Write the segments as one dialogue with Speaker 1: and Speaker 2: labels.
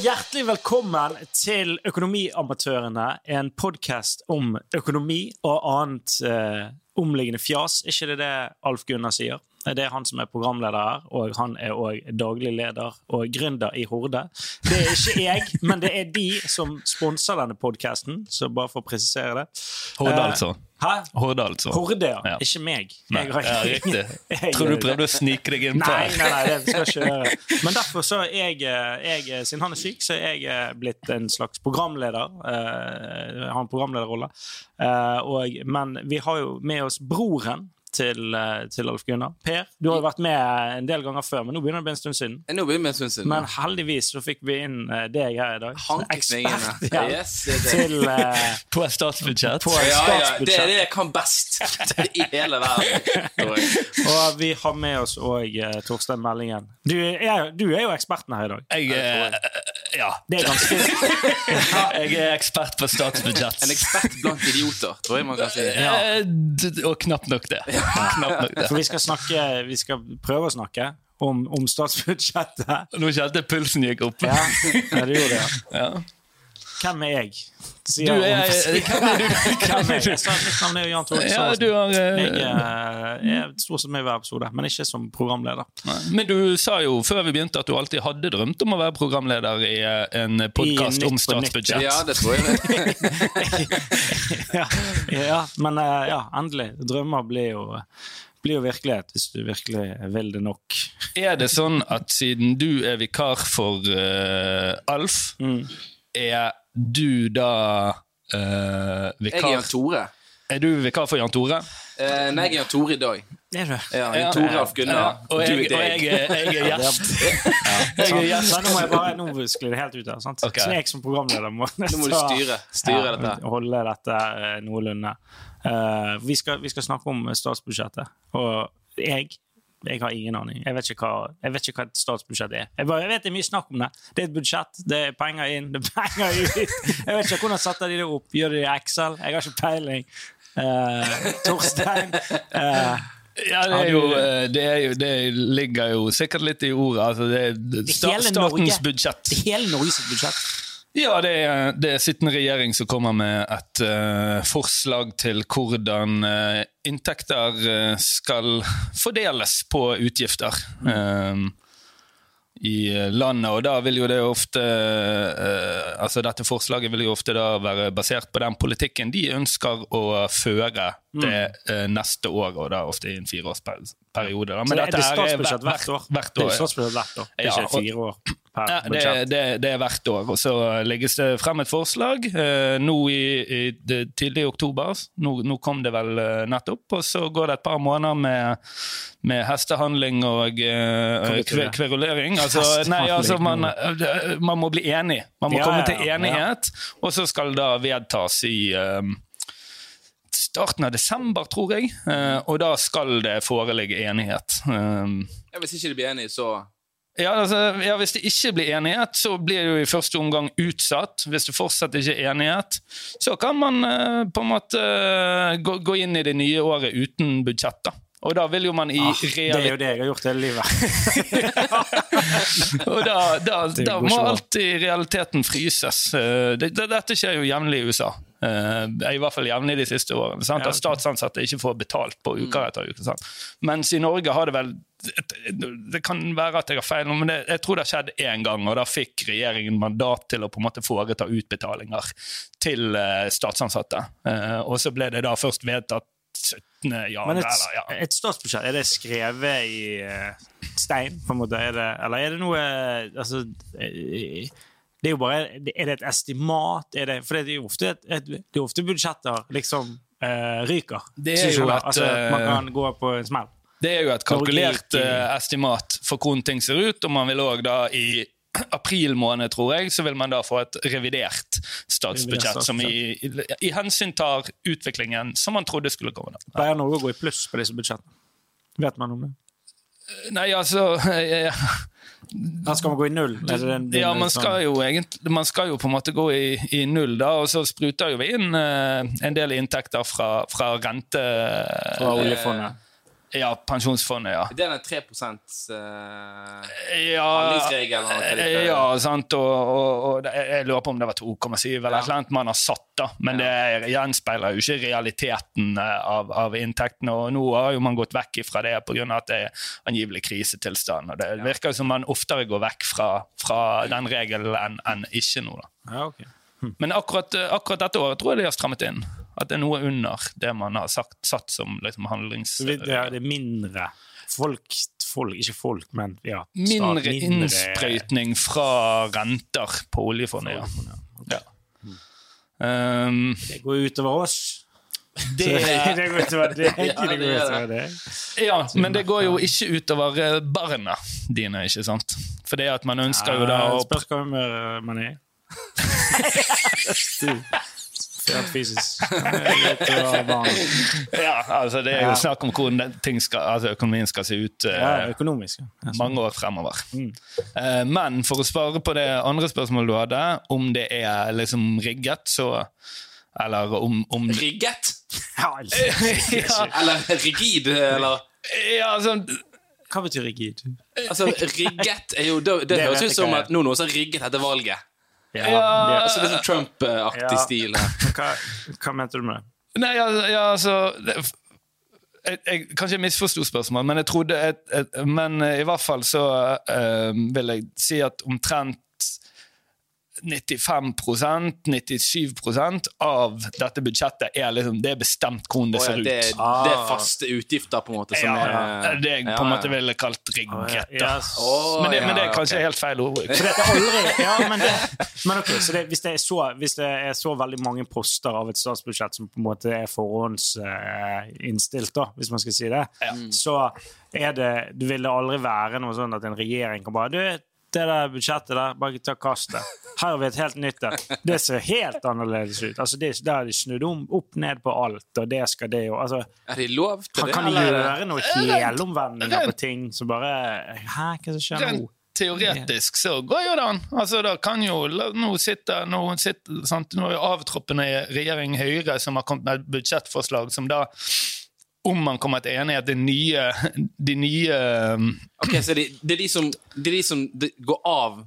Speaker 1: hjertelig velkommen til Økonomiamatørene, en podkast om økonomi og annet eh, omliggende fjas. Er ikke det det Alf Gunnar sier? Eh, Det er han som er programleder her, og han er òg daglig leder og gründer i Horde. Det er ikke jeg, men det er de som sponser denne podkasten, så bare for å presisere det.
Speaker 2: Horde,
Speaker 1: Eh,
Speaker 2: altså.
Speaker 1: Hæ?
Speaker 2: Horde, altså.
Speaker 1: Horde, ja.
Speaker 2: Ja.
Speaker 1: Ikke meg.
Speaker 2: Nei,
Speaker 1: Jeg har
Speaker 2: ja,
Speaker 1: ikke-
Speaker 2: riktig.
Speaker 1: Jeg gjør
Speaker 2: Tror du
Speaker 1: det.
Speaker 2: prøvde å snike deg inn på
Speaker 1: Nei,
Speaker 2: her.
Speaker 1: nei, nei, det skal jeg ikke gjøre. Men derfor så er jeg, eh, jeg Siden han er syk, så er jeg eh, blitt en slags programleder. eh, har en programlederrolle. Eh, og, men vi har jo med oss broren til, eh, til Alf Gunnar. Per, du har jo vært med en del ganger før, men nå begynner det å bli en stund siden.
Speaker 3: Nå blir vi en stund siden.
Speaker 1: Men heldigvis så fikk vi inn eh, deg her i dag.
Speaker 3: Hank i svingene.
Speaker 1: ja,
Speaker 3: Yes, det er det.
Speaker 1: til eh,
Speaker 2: På et statsbudsjett.
Speaker 1: på
Speaker 3: Ja, ja, det er
Speaker 1: statsbudsjettet.
Speaker 3: det jeg kan best i hele verden. tror jeg.
Speaker 1: Og vi har med oss òg eh, Torstein Meldingen. Du er, du er jo eksperten her i dag.
Speaker 2: Jeg er Ja.
Speaker 1: Det er ganske
Speaker 2: Jeg er ekspert på
Speaker 3: En
Speaker 2: statsbudsjett.
Speaker 3: ekspert blant idioter, tror jeg man kan si.
Speaker 2: Eh, d- Og knapt nok det. Knapt nok det.
Speaker 1: For vi skal, snakke, vi skal prøve å snakke om, om statsbudsjettet.
Speaker 2: Nå kjente jeg pulsen gikk opp.
Speaker 1: Ja, ja, du gjorde det.
Speaker 2: Ja.
Speaker 1: Hvem er jeg? Sier
Speaker 2: Du er,
Speaker 1: hun.
Speaker 2: hvem er
Speaker 1: Hvem er
Speaker 2: du?
Speaker 1: jeg? Jeg sa mitt navn er Jan Tore
Speaker 2: Ja, du
Speaker 1: Sarsen.
Speaker 2: har
Speaker 1: Jeg
Speaker 2: eh,
Speaker 1: eh, er stort sett med i hver episode, men ikke som programleder.
Speaker 2: Men du sa jo før vi begynte at du alltid hadde drømt om å være programleder i eh, en podkast
Speaker 1: I
Speaker 2: om
Speaker 1: Nytt på Nytt.
Speaker 2: statsbudsjett.
Speaker 3: Ja, det tror jeg. det.
Speaker 1: Ja, ja, men eh, ja, endelig. Drømmer blir jo, blir jo virkelighet hvis du virkelig vil det nok.
Speaker 2: Er det sånn at siden du er vikar for eh, Alf,
Speaker 1: Mm.
Speaker 2: er du da eh,
Speaker 3: Jeg er
Speaker 2: vikar
Speaker 3: Jan Tore.
Speaker 2: Er du vikar for Jan Tore?
Speaker 3: Eh, Nei, jeg er Jan Tore i dag.
Speaker 1: Er du?
Speaker 3: Ja, Jan Tore Alf Gunnar.
Speaker 2: Ja, Og
Speaker 3: Du
Speaker 2: jeg,
Speaker 3: er
Speaker 2: og jeg,
Speaker 3: deg.
Speaker 2: er- jeg er gjest. Jeg
Speaker 1: Sant?
Speaker 2: er gjest.
Speaker 1: Nei, nå må jeg bare, nå sklir det helt ut her. Sant?
Speaker 2: Ok.
Speaker 1: Så jeg som programleder må,
Speaker 3: Nå må du
Speaker 1: så-
Speaker 3: styre. Styre
Speaker 1: ja,
Speaker 3: dette.
Speaker 1: Holde dette eh, noenlunde. Eh, vi, skal, vi skal snakke om statsbudsjettet, og jeg jeg har ingen aning. Jeg vet ikke hva, jeg vet ikke hva et statsbudsjett er. Jeg, bare, jeg vet Det er mye snakk om det. Det er et budsjett, det er penger inn, det er penger ut. Jeg vet ikke hvordan setter de det opp. Gjør de det i Excel? Jeg har ikke peiling. Eh, Torstein eh,
Speaker 2: Ja, det, er jo, eh, det, er jo, det ligger jo sikkert litt i ordet. Altså, det er sta,
Speaker 1: hele Norge.
Speaker 2: statens budsjett.
Speaker 1: Det er hele Norges budsjett.
Speaker 2: Ja, det er, det er sittende regjering som kommer med et eh, forslag til hvordan eh, inntekter eh, skal fordeles på utgifter.
Speaker 1: Mm.
Speaker 2: eh, i landet, og da vil jo det ofte eh, altså Dette forslaget vil jo ofte da være basert på den politikken de ønsker å føre
Speaker 1: Mm.
Speaker 2: det eh, neste år, og da ofte i en fireårsperiode.
Speaker 1: Så
Speaker 2: da. Men
Speaker 1: det,
Speaker 2: dette
Speaker 1: det
Speaker 2: her
Speaker 1: er statsbudsjett hvert år.
Speaker 2: Hvert år
Speaker 1: Det er
Speaker 2: ja.
Speaker 1: statsbudsjett hvert år. Det er
Speaker 2: Ja,
Speaker 1: ikke
Speaker 2: og-
Speaker 1: fire år per
Speaker 2: Ja, det,
Speaker 1: budsjett.
Speaker 2: det, det er hvert år. Og så legges det frem et forslag eh, nå i, i det, tidlig i oktober. Nå, nå kom det vel eh, nettopp. Og så går det et par måneder med, med hestehandling og eh,
Speaker 1: vi til
Speaker 2: kve,
Speaker 1: det?
Speaker 2: kverulering. Altså,
Speaker 1: Hestehandling.
Speaker 2: nei, altså man, eh, man må bli enig. Man må
Speaker 1: Ja,
Speaker 2: komme
Speaker 1: ja,
Speaker 2: til
Speaker 1: ja.
Speaker 2: enighet, og så skal da vedtas i eh, starten av desember, tror jeg. Eh, og da skal det foreligge enighet. Eh,
Speaker 3: Ja, Hvis ikke de blir enige, så
Speaker 2: ja, altså, ja, Hvis det ikke blir enighet, så blir det jo i første omgang utsatt. Hvis det fortsatt ikke er enighet, så kan man eh, på en måte eh, gå, gå inn i det nye året uten budsjett. da. Og da vil jo man i
Speaker 1: Ah, det er jo
Speaker 2: reali-
Speaker 1: det jeg har gjort hele livet.
Speaker 2: og da, da,
Speaker 1: Det
Speaker 2: da
Speaker 1: går
Speaker 2: må
Speaker 1: ikke bra.
Speaker 2: alt i realiteten fryses. Eh, det, det, dette skjer jo jevnlig i USA. Eh, I hvert fall jevnlig de siste årene. Sant?
Speaker 1: Ja, Mm.
Speaker 2: At statsansatte ikke får betalt på uker etter uke. Sant? Mens i Norge har det vel Det kan være at jeg har feil, nå, men det, jeg tror det har skjedd én gang. Og da fikk regjeringen mandat til å på en måte foreta utbetalinger til eh, statsansatte. Eh, og så ble det da først vedtatt 17. januar.
Speaker 1: Men et,
Speaker 2: eller, ja.
Speaker 1: et statsbudsjett, er det skrevet i eh, stein, på en måte? Er det, eller er det noe eh, Altså eh, det er jo bare Er det et estimat? Er det, for det er jo ofte, et, et, det er ofte budsjetter liksom eh, ryker.
Speaker 2: Det er
Speaker 1: Så du
Speaker 2: jo
Speaker 1: skjønner,
Speaker 2: et,
Speaker 1: altså, Man
Speaker 2: eh,
Speaker 1: kan gå på en smell.
Speaker 2: Det er jo et kalkulert eh, estimat for hvordan ting ser ut, og man vil òg da i april måned, tror jeg, så vil man da få et revidert statsbudsjett som i, i, i hensyn tar utviklingen som man trodde skulle komme. da.
Speaker 1: Pleier Norge å gå i pluss på disse budsjettene? Vet man om det?
Speaker 2: Nei, altså eh,
Speaker 1: Her skal man gå i null? Er sånn- det Altså, den-
Speaker 2: Ja, man skal, jo egentlig, man skal jo på en måte gå i, i null, da, og så spruter jo vi inn eh, en del inntekter fra, fra rente...
Speaker 1: Fra oljefondet?
Speaker 2: Ja, pensjonsfondet, ja.
Speaker 3: Det er den 3 eh,
Speaker 2: Ja, Eh,
Speaker 3: handlingsregelen. eller hva det heter.
Speaker 2: ja sant, og, og, og det- jeg lurer på om det var 2,7 eller
Speaker 3: Ja.
Speaker 2: et eller annet man har satt, da. Men det gjenspeiler jo ikke realiteten eh, av, av inntektene, og nå har jo man gått vekk ifra det pga. at det er angivelig krisetilstand. Og det virker jo som man oftere går vekk fra, fra den regelen enn enn ikke nå, da.
Speaker 1: Ja, ok.
Speaker 2: Men akkurat, akkurat dette året tror jeg de har strammet inn. At det er noe under det man har sagt, satt som liksom, handlings...
Speaker 1: Så vi- ja, det er mindre folk, folk Ikke folk, men ja.
Speaker 2: Mindre
Speaker 1: stat-
Speaker 2: innsprøytning fra renter på oljefondet, ja. ja. Um,
Speaker 1: Det går utover oss.
Speaker 2: det,
Speaker 1: Så det går utover deg.
Speaker 3: Ja, det
Speaker 1: det går
Speaker 3: gjør
Speaker 1: utover deg.
Speaker 2: ja, men det går jo ikke utover eh, barna dine, ikke sant? For det at man ønsker jo da
Speaker 1: Ja,
Speaker 2: å
Speaker 1: Spørs hva humør eh, man er i. Fælt fysisk. eh,
Speaker 2: Ja, altså det er jo snakk om hvordan den ting skal, altså, økonomien skal se ut. eh,
Speaker 1: Ja, sånn. Mm. økonomisk. ja.
Speaker 2: mange år fremover. Eh, Men for å svare på det andre spørsmålet du hadde, om det er liksom rigget, så Eller om, om
Speaker 3: Rigget?
Speaker 1: Ja, altså.
Speaker 2: ja,
Speaker 3: Eller rigid? Eller
Speaker 2: ja, sånn
Speaker 1: Hva betyr rigid?
Speaker 3: Altså, rigget er jo Det, det,
Speaker 1: Det
Speaker 3: høres
Speaker 1: vet
Speaker 3: ut
Speaker 1: jeg
Speaker 3: som
Speaker 1: hva
Speaker 3: at
Speaker 1: er.
Speaker 3: nå noen som har rigget etter valget.
Speaker 1: Ja,
Speaker 2: Ja.
Speaker 1: det-
Speaker 3: Altså, det er sånn Trump-aktig
Speaker 1: Ja.
Speaker 3: stil. her.
Speaker 1: Men Hva, hva mente du med det?
Speaker 2: Nei, altså, ja, altså det- jeg, jeg, Kanskje jeg misforsto spørsmålet, men jeg trodde et, et, Men eh, i hvert fall så eh, vil jeg si at omtrent 95 97 av dette budsjettet er liksom Det er bestemt hvordan det
Speaker 3: Og
Speaker 2: ser ut.
Speaker 3: Det, det er faste utgifter, på en måte. Som
Speaker 2: Ah. ja,
Speaker 3: er,
Speaker 2: det jeg på en måte ville kalt rigget. da.
Speaker 1: Yes.
Speaker 3: Å,
Speaker 2: Men det, men det
Speaker 3: ja,
Speaker 2: er kanskje helt feil ordbruk.
Speaker 1: For det er aldri Ja, men, det, men ok, så det, hvis, det er så, hvis det er så veldig mange poster av et statsbudsjett som på en måte er forhåndsinnstilt, da, hvis man skal si det,
Speaker 3: Mm.
Speaker 1: så er det Du vil det aldri være noe sånn at en regjering kan bare Du, det der budsjettet der, bare ta kast det. Her har vi et helt nytt et. Det ser helt annerledes ut. Altså, det, der har de snudd om, opp ned på alt, og det skal det jo Altså
Speaker 3: Er det lov til
Speaker 1: han
Speaker 3: det?
Speaker 1: kan
Speaker 3: eller er det-
Speaker 1: gjøre noen helomvendinger på ting som bare Hæ, hva som skjer
Speaker 2: Rent
Speaker 1: nå?
Speaker 2: teoretisk så går jo det an. Altså, da kan jo, la- nå sitter, nå sitter sant? Nå er jo avtroppende regjering Høyre som har kommet med et budsjettforslag som da om man kommer til enighet, de nye, de nye um,
Speaker 3: Ok, så det, det er de som, det er de som det går av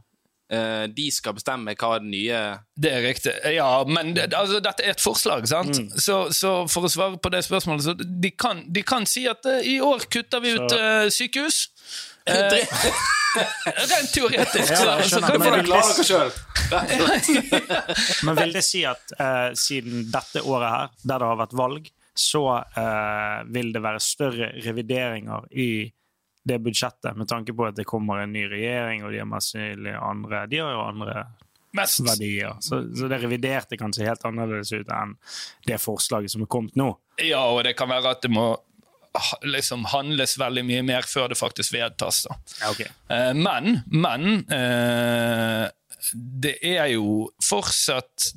Speaker 3: eh, De skal bestemme hva det nye
Speaker 2: Det er riktig. Ja, men det, altså, dette er et forslag, sant?
Speaker 1: Mm.
Speaker 2: Så, så for å svare på det spørsmålet, så de kan, de kan si at eh, i år kutter vi ut eh, sykehus. Eh, rent teoretisk.
Speaker 1: Ja, jeg
Speaker 2: så- så
Speaker 1: skjønner,
Speaker 2: kan
Speaker 1: men
Speaker 2: folk-
Speaker 1: det- klare dere
Speaker 3: sjøl!
Speaker 1: Men vil det si at eh, siden dette året her, der det har vært valg, så eh, vil det være større revideringer i det budsjettet, med tanke på at det kommer en ny regjering, og de har masse andre De har jo andre
Speaker 2: Mest.
Speaker 1: verdier. Så, så det reviderte kan se helt annerledes ut enn det forslaget som er kommet nå.
Speaker 2: Ja, og det kan være at det må ah, liksom handles veldig mye mer før det faktisk vedtas. Da. Eh, Men, men eh, det er jo fortsatt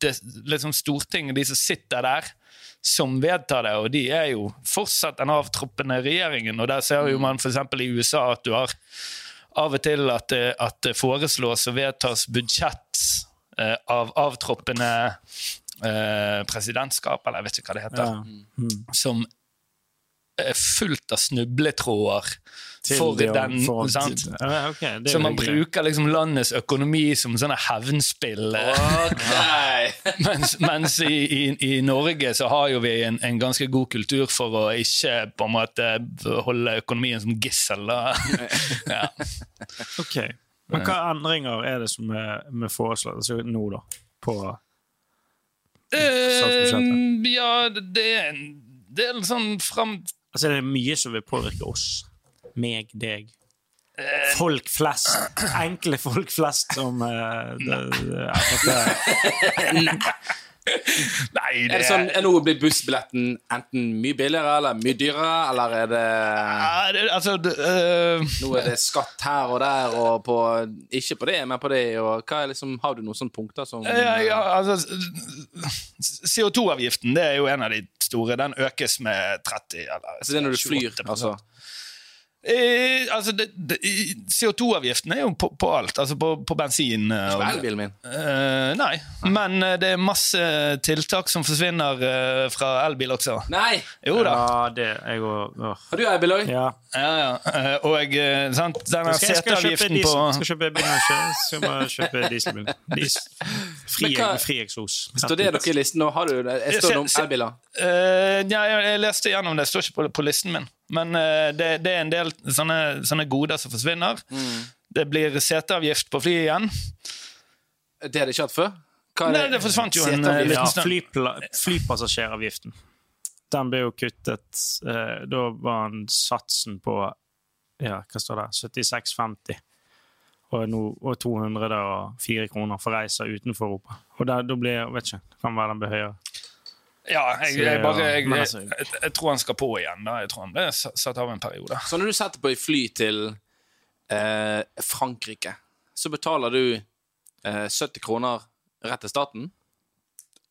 Speaker 2: det, liksom Stortinget, de som sitter der, som vedtar det. Og de er jo fortsatt den avtroppende regjeringen. Og der ser jo man f.eks. i USA at du har av og til at det, at det foreslås og vedtas budsjett eh, av avtroppende eh, presidentskap, eller jeg vet ikke hva det heter,
Speaker 1: Ja.
Speaker 2: som er fullt av snubletråder
Speaker 1: Til
Speaker 2: for
Speaker 1: det å-
Speaker 2: den.
Speaker 1: for-
Speaker 2: sant?
Speaker 1: Ja, ok, det er
Speaker 2: Så man
Speaker 1: hyggelig.
Speaker 2: bruker liksom landets økonomi som sånne hevnspill. eh,
Speaker 3: Ok!
Speaker 2: Mens, mens i, i, i Norge så har jo vi en, en ganske god kultur for å ikke på en måte holde økonomien som gissel. Da. Ja.
Speaker 1: Ok. Men hva endringer er det som er, vi foreslår altså, nå, da? På Statsbudsjettet.
Speaker 2: Eh, ja, det er en del sånn fram...
Speaker 1: Altså, det er mye som vil påvirke oss. Meg, deg. Folk flest. Enkle folk flest som eh, det- det- ja, det-
Speaker 2: Nei,
Speaker 3: Er det sånn, er nå blir bussbilletten enten mye billigere eller mye dyrere, eller er det
Speaker 2: Ja, det, altså, det, eh,
Speaker 3: nå er det skatt her og der og på Ikke på det, men på det, og hva er liksom Har du noen sånne punkter som
Speaker 2: ja, ja, altså, CO2-avgiften det er jo en av de store. Den økes med 30 eller
Speaker 3: Altså det er når du flyr,
Speaker 2: 28%.
Speaker 3: altså.
Speaker 2: Eh, altså, det- det- i- CO2-avgiften er jo på, på alt. Altså på, på bensin. eh, og-
Speaker 3: På elbilen min.
Speaker 2: Eh, nei, men eh, det er masse tiltak som forsvinner eh, fra elbil også.
Speaker 3: Nei!
Speaker 2: Jo da.
Speaker 1: Ja, det jeg og, åh.
Speaker 3: Har du elbil òg?
Speaker 1: Ja.
Speaker 2: Ja, ja. Eh, og eh, sant? denne
Speaker 1: Skal, jeg skal kjøpe
Speaker 2: seteavgiften på
Speaker 1: diesel. Skal kjøpe bil nå, ikke? Skal bare kjøpe dieselbil. Dis. Fri,
Speaker 3: Men hva-
Speaker 1: fri eksos.
Speaker 3: Står det dere i listen nå? Har du det? Jeg står
Speaker 2: Se-
Speaker 3: det om
Speaker 2: se-
Speaker 3: elbiler.
Speaker 2: Eh, ja, jeg, jeg leste gjennom det, det står ikke på, på listen min. Men eh, det, det er en del sånne, sånne goder som forsvinner.
Speaker 3: Mm.
Speaker 2: Det blir seteavgift på flyet igjen.
Speaker 3: Det har de ikke hatt før? Hva er
Speaker 2: Nei, det forsvant jo en,
Speaker 3: Seteavgift?
Speaker 2: eh,
Speaker 1: Ja,
Speaker 2: liten stund.
Speaker 1: flypla, flypassasjeravgiften. Den ble jo kuttet. eh, Da var han satsen på ja, hva står det? 76,50. Og, nå- og 204 kroner for reiser utenfor Europa. Og da, da blir jeg vet ikke, kan være den blir høyere.
Speaker 2: Ja, jeg,
Speaker 1: Så det
Speaker 2: jeg,
Speaker 1: er-
Speaker 2: bare, jeg,
Speaker 1: men
Speaker 2: jeg,
Speaker 1: altså-
Speaker 2: jeg, jeg tror han skal på igjen. Da. Jeg tror han ble s- satt av en periode.
Speaker 3: Så når du setter på et fly til eh, Frankrike, så betaler du eh, 70 kroner rett til staten?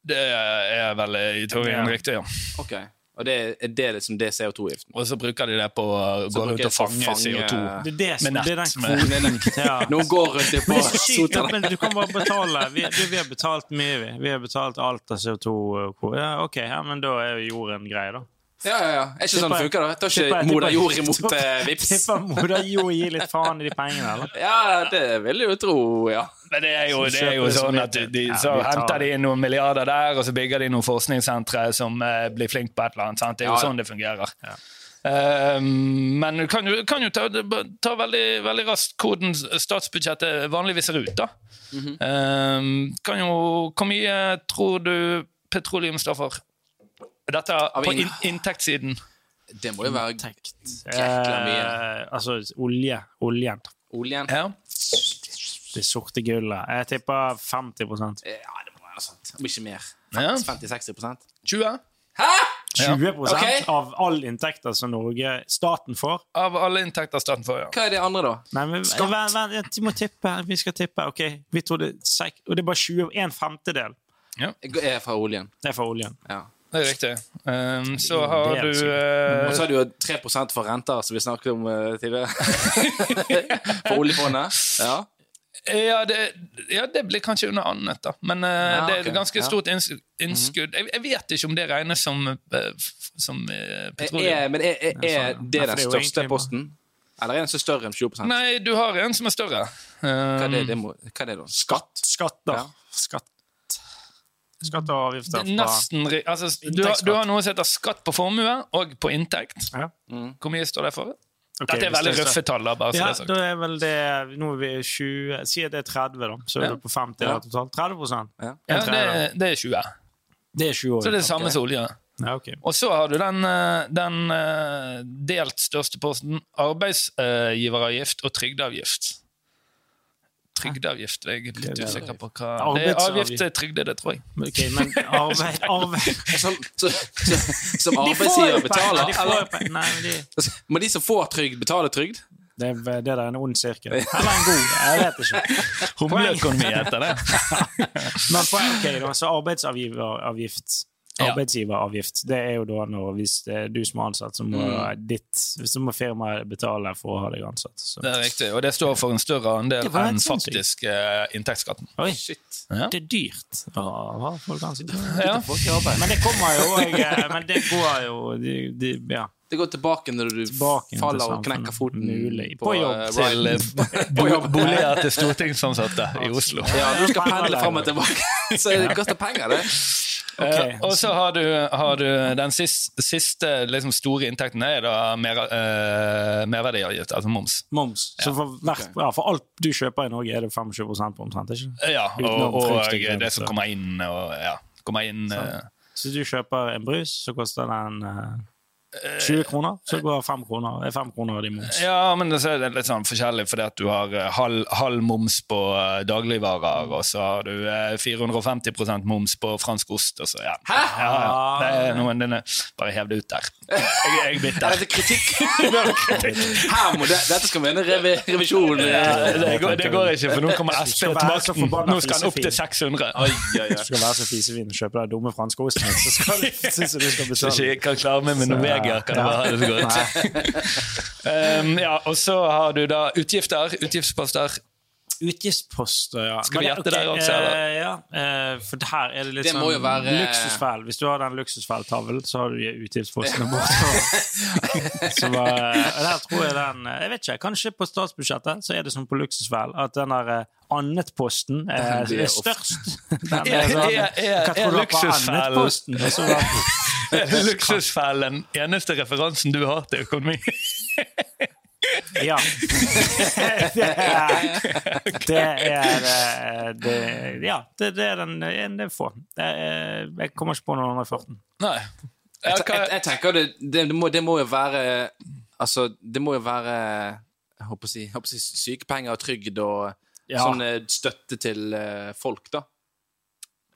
Speaker 2: Det er vel eh, i teorien
Speaker 1: Ja.
Speaker 2: riktig, ja.
Speaker 3: Ok. Og det er det er liksom det er CO2-giften.
Speaker 2: Og så bruker de det på å gå
Speaker 3: bruker
Speaker 2: rundt og
Speaker 3: jeg til å
Speaker 2: fange,
Speaker 3: fange-
Speaker 2: CO2.
Speaker 1: Det er, det som,
Speaker 2: Med nett,
Speaker 1: det er den
Speaker 2: med-
Speaker 1: kvoten. Ja.
Speaker 3: Noen går rundt i på
Speaker 1: Det er så sykt, ja,
Speaker 3: sotene.
Speaker 1: men du kan bare betale. Vi, vi, vi har betalt mye, vi. Vi har betalt alt av CO2. -kvote. eh, Ja, OK, ja, men da er jo jorden grei, da.
Speaker 3: Ja, ja, ja. Er ikke sånn det
Speaker 1: Tipper-
Speaker 3: funker, da? Tar
Speaker 1: tipper-
Speaker 3: ikke moder
Speaker 1: tipper-
Speaker 3: jord imot eh, vips?
Speaker 1: Tipper moder jord gir litt faen i de pengene, eller?
Speaker 3: Ja, det vil jeg jo tro, ja.
Speaker 2: Men det er jo,
Speaker 1: Så
Speaker 2: det er jo
Speaker 1: kjøper de så
Speaker 2: sånn
Speaker 1: mye
Speaker 2: at de, de,
Speaker 1: til-
Speaker 2: så
Speaker 1: Ja, vi tar
Speaker 2: henter de
Speaker 1: det.
Speaker 2: inn noen milliarder der, og så bygger de noen forskningssentre som eh, blir flink på et eller annet. Sant? Det er jo
Speaker 3: Ja, ja.
Speaker 2: sånn det fungerer. Eh, men du kan jo, kan jo ta, ta veldig, veldig raskt hvordan statsbudsjettet vanligvis ser ut, da. Eh, kan jo Hvor mye tror du petroleum står for? Dette er på
Speaker 3: ingen-
Speaker 2: in inntektssiden.
Speaker 3: Det må jo være jækla mye.
Speaker 1: Eh, altså olje. Oljen.
Speaker 3: Oljen.
Speaker 2: Ja.
Speaker 1: Det sorte gullet. Jeg tipper 50
Speaker 3: Ja, det må være sant. Om ikke mer.
Speaker 2: ja.
Speaker 3: 50-60
Speaker 2: 20
Speaker 1: 20
Speaker 3: Ok.
Speaker 1: av all inntekter som Norge staten får.
Speaker 2: av alle inntekter staten får, ja.
Speaker 3: Hva er det andre, da?
Speaker 1: Nei, men
Speaker 3: Skatt.
Speaker 1: vent, vent, jeg må tippe. Vi skal tippe. OK, vi trodde sek- Og det er bare 20, en femtedel
Speaker 3: Jeg er fra oljen.
Speaker 1: det er fra oljen.
Speaker 3: Ja.
Speaker 2: Det er riktig. Eh, så har
Speaker 1: Det er
Speaker 2: du
Speaker 1: sykt.
Speaker 2: eh,
Speaker 3: Og så er det jo 3 for renter, som vi snakket om eh, tidligere. for oljefondet. Ja.
Speaker 2: Ja det, ja, det blir kanskje under annet, da. Men eh,
Speaker 3: Ja,
Speaker 2: det er
Speaker 3: ok.
Speaker 2: et ganske
Speaker 3: Ja.
Speaker 2: stort inns- innskudd. Jeg, jeg vet ikke om det regnes som, eh, f- som eh,
Speaker 3: Er,
Speaker 2: petroleum.
Speaker 3: men er, er,
Speaker 1: Ja,
Speaker 3: er
Speaker 1: sånn, ja. Nei,
Speaker 3: det
Speaker 1: for
Speaker 3: den
Speaker 1: det er jo
Speaker 3: største
Speaker 1: egentlig bare-
Speaker 3: posten? Eller er den så større enn 20 Hva
Speaker 2: Nei, du har en som er større. Eh,
Speaker 3: er det, det, må, hva er det da? Skatt?
Speaker 1: Skatter.
Speaker 3: Ja.
Speaker 1: Skatt. Skatt og
Speaker 2: det
Speaker 1: avgifter
Speaker 2: er nesten ri- altså, du, har,
Speaker 1: Inntektsskatt.
Speaker 2: du har noe som heter skatt på formue og på inntekt. Mm.
Speaker 1: Ja.
Speaker 2: Hvor mye står det for?
Speaker 1: Ok,
Speaker 2: Dette er
Speaker 1: hvis
Speaker 2: veldig
Speaker 1: det er
Speaker 2: røffe tall. da, bare så
Speaker 1: Ja,
Speaker 2: Altså, det er sagt.
Speaker 1: da er vel det Nå er vi 20 Si at det er 30, da. Så er
Speaker 2: Ja.
Speaker 1: du på 50
Speaker 3: Ja.
Speaker 1: da, totalt. 30
Speaker 3: Ja.
Speaker 2: Ja,
Speaker 1: en
Speaker 2: det,
Speaker 1: tredjedel.
Speaker 2: det er 20.
Speaker 1: Det er 20 år.
Speaker 2: Så det er det samme som olje.
Speaker 1: ja, ok.
Speaker 2: Og så har du den, eh, den eh, delt største posten arbeidsgiveravgift eh, og trygdeavgift. Trygdeavgift er jeg litt
Speaker 1: Hva er det?
Speaker 2: usikker på hva Det er
Speaker 1: Arbeidsavgift.
Speaker 2: avgift til trygdede, tror jeg.
Speaker 1: Men- ok, men arbeid, arbeid.
Speaker 3: Som, som, som
Speaker 1: De får jo
Speaker 3: arbeidsgiver
Speaker 1: penger,
Speaker 3: betaler?
Speaker 1: de får jo
Speaker 3: Eller,
Speaker 1: penger. Nei, men de,
Speaker 3: må de som får trygd, betale trygd?
Speaker 1: det, er- det der er en ond sirkel. Eller en god. Jeg vet ikke.
Speaker 2: Humleøkonomi heter det.
Speaker 1: Men på, ok, da, så arbeidsavgift
Speaker 2: Ja.
Speaker 1: Arbeidsgiveravgift. Det er jo da når hvis det er du som er ansatt, så må,
Speaker 2: Mm.
Speaker 1: ditt, så må firmaet betale for å ha deg ansatt. Så.
Speaker 2: Det er riktig, Og det står for en større andel
Speaker 1: Det var helt
Speaker 2: enn
Speaker 1: sinnssykt.
Speaker 2: faktisk eh, inntektsskatten.
Speaker 1: Oi,
Speaker 3: Shit.
Speaker 2: Ja.
Speaker 1: det er dyrt å ha folk ansatt.
Speaker 2: Ja.
Speaker 3: Folk i arbeid.
Speaker 1: Men det kommer jo og, eh, Men det går jo de, de, ja,
Speaker 3: Det går tilbake når du
Speaker 1: tilbake til
Speaker 3: faller
Speaker 1: samfunnet.
Speaker 3: og knekker foten
Speaker 1: Mulig.
Speaker 3: på,
Speaker 1: På jobb.
Speaker 3: eh,
Speaker 2: Til
Speaker 3: Ryan.
Speaker 2: eh, bo- boliger til stortingsansatte i Oslo.
Speaker 3: Ja, du skal pendle fram og tilbake, så det koster penger, det.
Speaker 1: Ok.
Speaker 2: Eh, og så har du, har du den siste, siste liksom store inntekten er da mer, eh, merverdiavgift, altså moms.
Speaker 1: moms. Så for, hvert, ja, for alt du kjøper i Norge, er det 25 på omtrent? ikke sant?
Speaker 2: Ja,
Speaker 1: Utenom
Speaker 2: og, og
Speaker 1: fruktdrikken,
Speaker 2: det som
Speaker 1: så.
Speaker 2: kommer inn og ja, kommer inn eh,
Speaker 1: Så du kjøper en brus, så koster den eh, 20 kroner. Så går 5 kroner, er 5 kroner av de moms.
Speaker 2: Ja, men så er det litt sånn forskjellig, fordi at du har eh, halv, halv moms på eh, dagligvarer, og så har du eh, 450 moms på fransk ost, og så ja. Hæ? Ja, ja. Det er noen denne, bare hev det ut der. Jeg, jeg er
Speaker 3: Er
Speaker 2: bitter.
Speaker 3: dette kritikk? Her må det, dette skal vi ha en revi, revisjon.
Speaker 2: Ja, det, går, det går ikke, for nå kommer SP
Speaker 1: skal
Speaker 2: til
Speaker 1: være så
Speaker 2: makten.
Speaker 1: forbanna
Speaker 2: Nå skal han opp til
Speaker 1: fisefin.
Speaker 2: 600.
Speaker 1: Du skal være så fisefin og kjøpe deg dumme franske osten, så skal du, så du skal betale.
Speaker 2: Så ikke jeg kan klare meg med noe Jæger kan det være. Det er så godt. Um, ja, og så har du da utgifter, utgiftsposter.
Speaker 1: Utgiftsposter, ja.
Speaker 2: Skal vi
Speaker 1: Men,
Speaker 2: gjette
Speaker 1: ok,
Speaker 2: der også, eller?
Speaker 1: eh, ja, eh, for her er det litt
Speaker 3: Det må jo
Speaker 1: sånn
Speaker 3: være-
Speaker 1: luksusfell. Hvis du har den luksusfelltavlen, så har du de utgiftspostene bortover. Så bare- og der tror jeg den eh, Jeg vet ikke, kanskje på statsbudsjettet så er det som på luksusfell, at den der eh, annetposten er,
Speaker 3: Den blir
Speaker 1: er
Speaker 3: ofte-
Speaker 1: størst. Den
Speaker 2: Er-
Speaker 1: sånn-
Speaker 2: er- er-
Speaker 1: Hva tror
Speaker 2: er
Speaker 1: du på
Speaker 2: luksusfell-
Speaker 1: annetposten? Og så var-
Speaker 2: Luksusfellen. Eneste referansen du har til økonomi.
Speaker 1: Ja. det er Det er, eh, det, Ja, det, det er den en- Det er få. Det er- eh, Jeg kommer ikke på noen andre i farten.
Speaker 2: Nei. Ja,
Speaker 3: Jeg, jeg,
Speaker 2: hva,
Speaker 3: jeg tenker det, det, det, må, det må jo være Altså, det må jo være jeg håper å si, jeg håper å si sykepenger og trygd og
Speaker 1: Ja.
Speaker 3: sånn eh, støtte til eh, folk, da.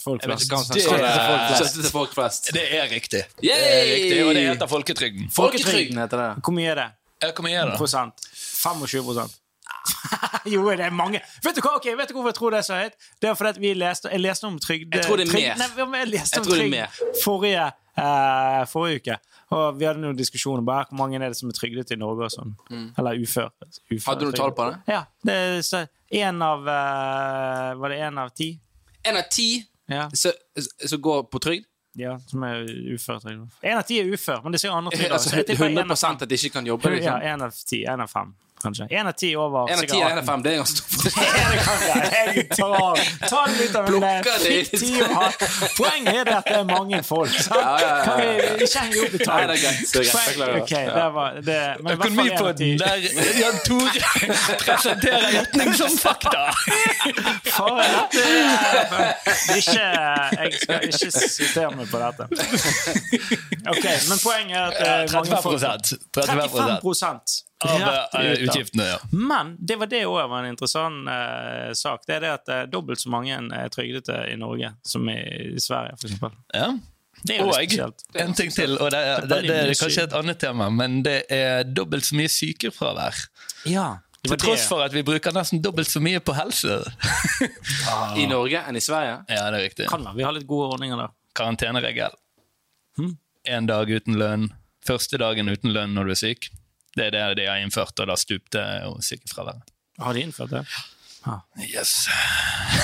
Speaker 1: Folk
Speaker 3: Jeg vet
Speaker 1: flest.
Speaker 3: ikke hva som
Speaker 2: Det-
Speaker 3: står der.
Speaker 2: Støtte til folk flest.
Speaker 3: Støtte til folk flest.
Speaker 2: det er riktig. Det er
Speaker 3: Yay!
Speaker 2: riktig. Og det heter folketrygden.
Speaker 3: Folketrygden heter det.
Speaker 1: Hvor mye er det?
Speaker 2: Ja, Hvor mye er det? da?
Speaker 1: Prosent? 25 prosent? Jo, det er mange. Vet du hva, ok, vet du hvorfor jeg tror det er så høyt? Det er fordi at vi leste, jeg leste om trygd...
Speaker 3: Jeg tror det er
Speaker 1: trygd-
Speaker 3: mer.
Speaker 1: Nei, men jeg leste
Speaker 3: Jeg
Speaker 1: om
Speaker 3: tror det er
Speaker 1: trygd forrige, eh, forrige uke. Og vi hadde noen diskusjoner om bare hvor mange er det som er trygdet i Norge og sånn. Eller ufør. ufør
Speaker 3: Mm. Hadde du noe tall på det?
Speaker 1: Ja. det er så, en av eh, Var det én av ti?
Speaker 3: En av ti
Speaker 1: Ja.
Speaker 3: som som går på trygd.
Speaker 1: ja. Som er uføretrygd. Én av ti er ufør, men det sier andre trygder.
Speaker 3: Altså
Speaker 1: så jeg tipper en
Speaker 3: 100
Speaker 1: av-
Speaker 3: at de ikke kan jobbe.
Speaker 1: Ja,
Speaker 3: Liksom.
Speaker 1: én av ti. Én av fem, kanskje. Én av ti over
Speaker 3: En av ti
Speaker 1: sikkert
Speaker 3: eller
Speaker 1: 18.
Speaker 3: en av fem. Det er ganske stor forskjell.
Speaker 1: Ja, det kan være. Jeg tar av. Ta den ut av eh, den
Speaker 3: Plukker det ut.
Speaker 1: fiktive hatten. Poenget er det at det er mange folk. Sant?
Speaker 3: Ja, ja, ja.
Speaker 1: Kan vi ikke henge opp i
Speaker 3: Nei,
Speaker 1: tall?
Speaker 3: det er greit. Det er greit. Jeg klarer det.
Speaker 1: Ok, det var det. Men i hvert fall en av ti.
Speaker 2: Økonomipodden, der Jan Tore presenterer gjetning som fakta!
Speaker 1: Eh, For dette er- det er ikke, Jeg skal ikke sitere meg på dette. Ok, Men poenget er at
Speaker 2: Eh,
Speaker 1: det er mange
Speaker 2: 35
Speaker 1: folk. 35
Speaker 2: 35 av
Speaker 1: rett
Speaker 2: eh,
Speaker 1: i utgift.
Speaker 2: utgiftene, ja.
Speaker 1: Men det var det òg var en interessant eh, sak. Det er det at eh, dobbelt så mange er trygdete i Norge som i, i Sverige, for eksempel.
Speaker 2: ja.
Speaker 1: Det er jo
Speaker 2: Og
Speaker 1: litt spesielt.
Speaker 2: en ting til, og det er, det, det er kanskje et annet tema, men det er dobbelt så mye sykefravær.
Speaker 1: Ja, det var
Speaker 2: Til tross
Speaker 1: det.
Speaker 2: for at vi bruker nesten dobbelt så mye på helse.
Speaker 3: I Norge enn i Sverige.
Speaker 2: Ja, det er riktig.
Speaker 1: Kan være. Vi har litt gode ordninger der.
Speaker 2: Karanteneregel.
Speaker 3: Hmm?
Speaker 2: En dag uten lønn. Første dagen uten lønn når du er syk. Det er det de har innført, og da stupte jo sykefraværet.
Speaker 1: Har de innført det?
Speaker 2: Yes.
Speaker 1: Nei,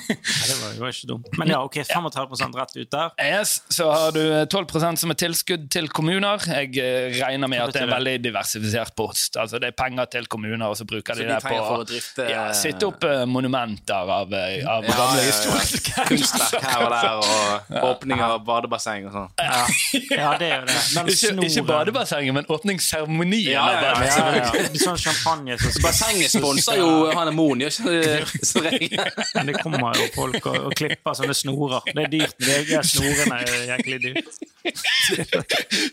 Speaker 1: det var, det var ikke dumt. Men ja, ok, 35 rett ut der.
Speaker 2: Yes, så har du 12 som er tilskudd til kommuner. Jeg eh, regner med at det er en
Speaker 1: betyr
Speaker 2: veldig diversifisert post. Altså Det er penger til kommuner, og så bruker
Speaker 3: Så
Speaker 2: de det
Speaker 3: de
Speaker 2: på
Speaker 3: trenger for å drifte-
Speaker 2: ja, Sitte opp eh, monumenter av, eh, av
Speaker 3: Ja,
Speaker 2: gamle
Speaker 3: ja, ja.
Speaker 2: historiske
Speaker 3: Kunstverk her og der, og åpning av badebasseng og sånn.
Speaker 1: Ja, ja det er jo det. Den
Speaker 2: Ikke, ikke
Speaker 1: snoren.
Speaker 2: badebassenget, men åpningsseremonien.
Speaker 3: Ja, ja,
Speaker 2: av
Speaker 3: ja,
Speaker 1: Ja,
Speaker 2: badebass-
Speaker 1: ja, ja. Sånn champagne som
Speaker 3: Bassenget sponser jo Hanne Moen, gjør ikke det som regel?
Speaker 1: Men det kommer jo folk og, og klipper sånne snorer. Det er dyrt, men det er gøy. snorene er jæklig dyrt.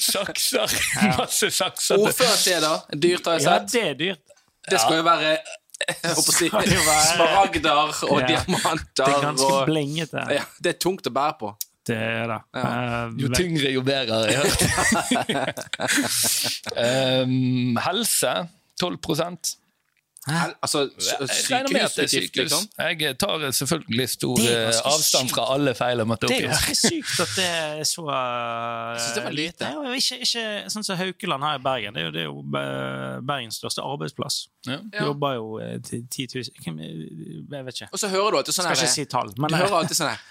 Speaker 2: Sakser! Masse sakser.
Speaker 3: Ordførersteder, dyrt har jeg
Speaker 1: Ja,
Speaker 3: sett.
Speaker 1: det er dyrt.
Speaker 3: Det skal jo være jeg håper å si,
Speaker 1: Skal jo være-
Speaker 3: smaragder og
Speaker 1: Ja. Det
Speaker 3: diamanter
Speaker 1: er ganske
Speaker 3: og
Speaker 1: blengete.
Speaker 3: ja, Det er tungt å bære på.
Speaker 1: Det er det. Eh,
Speaker 2: Jo tyngre, jo bedre, har jeg hørt. um, helse 12
Speaker 3: Hel- Altså, s-
Speaker 2: Jeg regner med at det er
Speaker 3: sykehusutgift,
Speaker 2: sykehus.
Speaker 3: liksom.
Speaker 2: Jeg tar selvfølgelig stor
Speaker 1: Det er ganske
Speaker 2: eh, avstand fra alle feil jeg måtte
Speaker 1: Det er
Speaker 2: oppgi.
Speaker 1: ganske sykt at det er så eh, Jeg
Speaker 3: synes det var lite.
Speaker 1: Ikke, ikke sånn som Haukeland her i Bergen. Det er jo, det er jo eh, Bergens største arbeidsplass.
Speaker 2: Ja.
Speaker 3: Ja.
Speaker 1: Jobber jo eh, ti- 10 000 Hvem- eh, Jeg vet ikke.
Speaker 3: Og så hører du alltid sånn
Speaker 1: Skal ikke
Speaker 3: her
Speaker 1: si tall, men
Speaker 3: Du hører alltid sånn her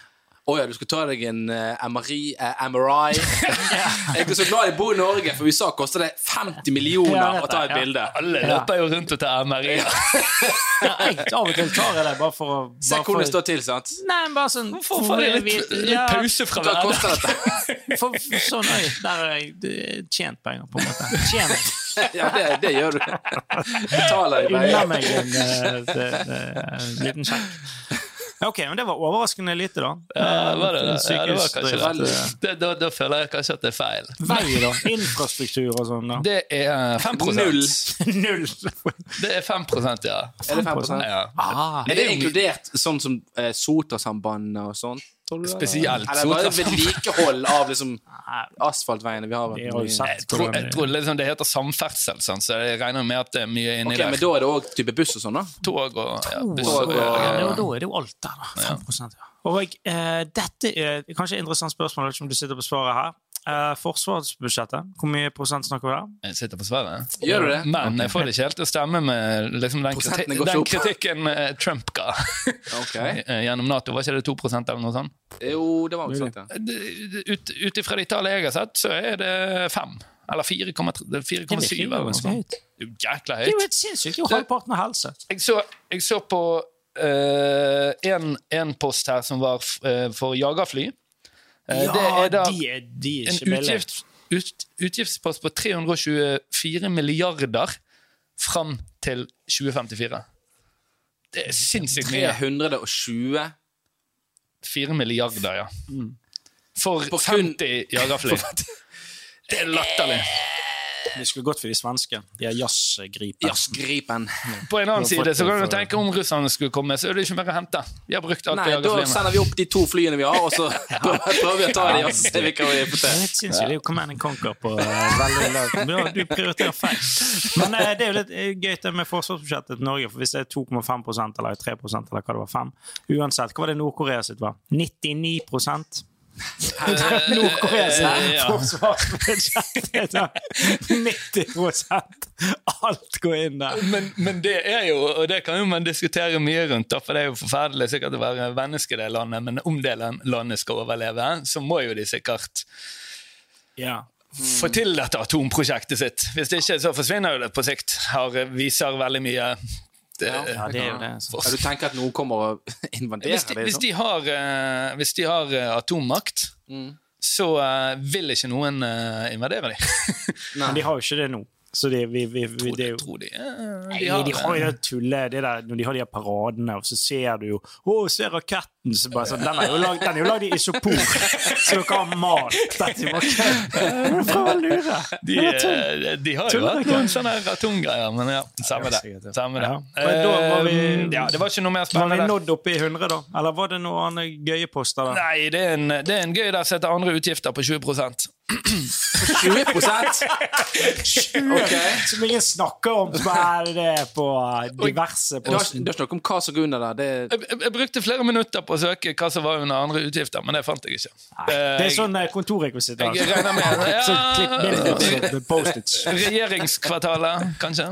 Speaker 3: Å ja, du skal ta deg en eh, MRI, eh, MRI. Jeg er så glad jeg bor i Norge, for i USA koster det 50
Speaker 1: Ja,
Speaker 3: millioner
Speaker 1: jeg
Speaker 3: å
Speaker 1: vet
Speaker 3: ta
Speaker 1: det,
Speaker 3: et
Speaker 1: ja.
Speaker 3: bilde.
Speaker 2: Alle løper jo rundt og tar MRI.
Speaker 1: jeg av og til tar jeg det bare for å
Speaker 3: Se
Speaker 1: bare
Speaker 3: hvordan det
Speaker 1: for,
Speaker 3: står til, sant?
Speaker 1: Nei, men bare sånn
Speaker 2: Hvorfor får de litt, litt pause fra
Speaker 3: Hva koster
Speaker 2: hverandre?
Speaker 3: dette?
Speaker 1: For, for, sånn, oi, der har jeg eh, tjent penger, på en måte. Tjent
Speaker 3: Ja, det, det gjør du. Betaler i
Speaker 1: unna
Speaker 3: veier.
Speaker 1: meg en eh, det- det- liten sjekk. Ok, men det var overraskende lite, da. Eh,
Speaker 2: Ja, var det det? Ja, det var kanskje
Speaker 1: Sykehusdrift,
Speaker 2: det.
Speaker 1: eh,
Speaker 2: Det, da, da føler jeg kanskje at det er feil.
Speaker 1: Vei, da. Infrastruktur og sånn. da.
Speaker 2: Det er 5
Speaker 3: Null.
Speaker 1: Null!
Speaker 2: Det er 5 ja.
Speaker 1: sånn
Speaker 3: Er det 5
Speaker 2: ja.
Speaker 1: Ah,
Speaker 3: Er det inkludert sånn som eh, Sotrasambandet og sånn?
Speaker 2: Spesielt
Speaker 3: Eller bare
Speaker 2: Sotrasambandet.
Speaker 3: vedlikehold av liksom asfaltveiene vi har?
Speaker 1: det har jo
Speaker 3: Ok,
Speaker 1: sett
Speaker 2: Jeg tror, jeg tror liksom det heter samferdsel, sant, så jeg regner med at det er mye inni
Speaker 3: Men
Speaker 2: der.
Speaker 3: da er det òg type buss og sånn, da?
Speaker 2: Tog og ja, buss.
Speaker 3: Tog
Speaker 1: Oh,
Speaker 3: og-
Speaker 1: Ja, det- og da er det jo alt der, da. 5 ja. Og eh, dette er kanskje et interessant spørsmål, som du sitter på svaret her. Eh, forsvarsbudsjettet, hvor mye prosent snakker vi der?
Speaker 2: Jeg sitter på Sverre.
Speaker 3: Gjør du det?
Speaker 2: Men jeg får det ikke helt til å stemme med liksom den, kriti
Speaker 3: Prosentene går ikke
Speaker 2: den
Speaker 3: opp.
Speaker 2: kritikken eh, Trump ga
Speaker 3: Ok.
Speaker 2: eh, gjennom Nato. Var ikke det 2 eller noe sånt? Eh,
Speaker 3: Jo, det var nok sant, ja.
Speaker 2: Det- Ut ut ifra de tallene jeg har sett, så er det 5. Eller 4,3 4,7 eller noe sånt.
Speaker 1: høyt.
Speaker 2: Det er jo Jækla
Speaker 1: Det er jo
Speaker 2: høyt.
Speaker 1: helt sinnssykt. Det er jo halvparten av helse.
Speaker 2: Jeg så, jeg så på eh, en, en post her som var f- eh, for jagerfly. Eh,
Speaker 1: Ja,
Speaker 2: det er da
Speaker 1: de er, de er
Speaker 2: en
Speaker 1: ikke billige.
Speaker 2: utgift, ut, utgiftspost på 324 milliarder fram til 2054. Det er sinnssykt mye.
Speaker 3: 320
Speaker 2: 4 milliarder, ja. For
Speaker 3: På kun-
Speaker 2: 50 jagerfly. Det er latterlig.
Speaker 1: Vi skulle gått for de svenske. De har jazzgriper.
Speaker 3: jazzgripen.
Speaker 2: På en annen
Speaker 1: Vi har fått
Speaker 2: side så
Speaker 1: det
Speaker 2: kan du
Speaker 1: for-
Speaker 2: tenke om russerne skulle komme, så er det ikke mer å hente. Vi har brukt alt
Speaker 3: Nei,
Speaker 2: på
Speaker 3: da
Speaker 2: jagerflyene.
Speaker 3: sender vi opp de to flyene vi har, og så prøver vi å ta de og se hva vi får
Speaker 1: Det er
Speaker 3: til.
Speaker 1: litt sinnssykt. Det er jo Command and Conquer på eh, veldig lavt. Du- Du prioriterer feil. Men eh, det er jo litt eh, gøy det med forsvarsbudsjettet til Norge. for Hvis det er 2,5 prosent, eller 3 prosent, eller hva det var, 5 Uansett, hva var det Nord-Korea sitt var? 99 prosent? Nord-Korea
Speaker 2: Eh,
Speaker 1: sitt
Speaker 2: ja.
Speaker 1: forsvarsbudsjett er da 90 prosent! Alt går inn der.
Speaker 2: men, men det er jo, og det kan jo man diskutere mye rundt, da, for det er jo forferdelig sikkert å være menneske i det landet, men om det lan- landet skal overleve, så må jo de sikkert
Speaker 1: Ja.
Speaker 2: få til dette atomprosjektet sitt. Hvis det ikke, så forsvinner jo det på sikt. Her viser veldig mye det, eh,
Speaker 1: ja, det er jo det. altså. Så.
Speaker 3: Ja, du tenker at noen kommer og invaderer
Speaker 2: hvis, de,
Speaker 3: liksom?
Speaker 2: hvis de har, eh, hvis de har eh, atommakt,
Speaker 1: Mm.
Speaker 2: så eh, vil ikke noen eh, invadere dem.
Speaker 1: Men de har jo ikke det nå. Så de, vi, vi, vi, det er jo
Speaker 2: Tror de, eh,
Speaker 1: Nei, de har jo det tullet det der, når de har de her paradene, og så ser du jo Å, se raketten! Så bare sånn, den er jo lagd- den er jo lagd i isopor, så dere har malt dette i raketten! Prøv å lure!
Speaker 2: De, eh, de har jo
Speaker 1: Tuller
Speaker 2: hatt
Speaker 1: ikke.
Speaker 2: noen sånne atomgreier, men ja, samme det.
Speaker 1: sikkert, ja.
Speaker 2: Samme det.
Speaker 1: Ja. Men da var vi-
Speaker 2: Eh, ja, det var ikke noe mer
Speaker 1: Var vi
Speaker 2: spennende.
Speaker 1: nådd oppe i 100, da? Eller var det noen andre gøye poster der?
Speaker 2: Nei, det er en, det er en gøy der som heter andre utgifter på 20
Speaker 3: 20 Ok.
Speaker 1: Som ingen snakker om, som er det på eh, diverse
Speaker 3: Du har,
Speaker 1: poster.
Speaker 3: ikke- du har ikke noe om hva som går under der. Det,
Speaker 2: Jeg, jeg, jeg brukte flere minutter på å søke hva som var under andre utgifter, men det fant jeg ikke.
Speaker 1: Det er sånn eh, kontorrekvisitt.
Speaker 2: Jeg
Speaker 1: Altså.
Speaker 2: regner med
Speaker 1: Så klipp bilder og
Speaker 2: ja,
Speaker 1: så Post-its.
Speaker 2: Regjeringskvartalet, kanskje.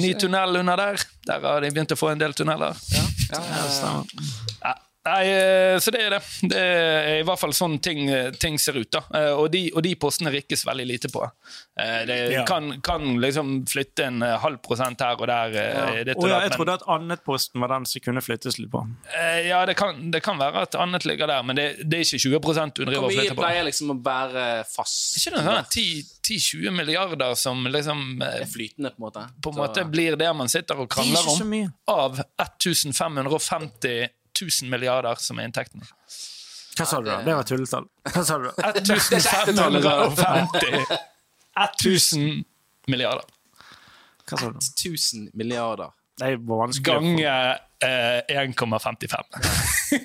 Speaker 2: Ny tunnel under der. Der har de begynt å få en del tunneler.
Speaker 3: ja, ja, stemmer.
Speaker 2: Ja. Nei, eh, så det er det. Det er i hvert fall sånn ting, ting ser ut. da. Eh, Og de, og de postene rikkes veldig lite på. Eh, Det
Speaker 1: Ja.
Speaker 2: kan, kan liksom flytte en eh, halv prosent her og der. eh, ditt og
Speaker 1: Å ja,
Speaker 2: datt,
Speaker 1: jeg
Speaker 2: men-
Speaker 1: trodde at annetposten var den som kunne flyttes litt på.
Speaker 2: Eh, Ja, det kan, det kan være at annet ligger der, men det, det er ikke 20 du driver og
Speaker 3: Hvor mye
Speaker 2: flytter på.
Speaker 3: pleier liksom å være fast?
Speaker 2: Ikke noe sånn 10 10-20 milliarder som liksom eh,
Speaker 3: Det er flytende, på en måte.
Speaker 2: på en
Speaker 3: Så-
Speaker 2: måte blir det man sitter og
Speaker 1: Det er
Speaker 2: krangler
Speaker 1: ikke så
Speaker 2: om,
Speaker 1: mye.
Speaker 2: av 1550 000 milliarder som er inntektene.
Speaker 1: Hva sa du da? Det var tulletall. Hva sa du da?
Speaker 2: 1550 1000 milliarder.
Speaker 1: Hva sa du?
Speaker 3: 1000 milliarder.
Speaker 1: Det er vanskelig.
Speaker 2: Gange eh, 1,55.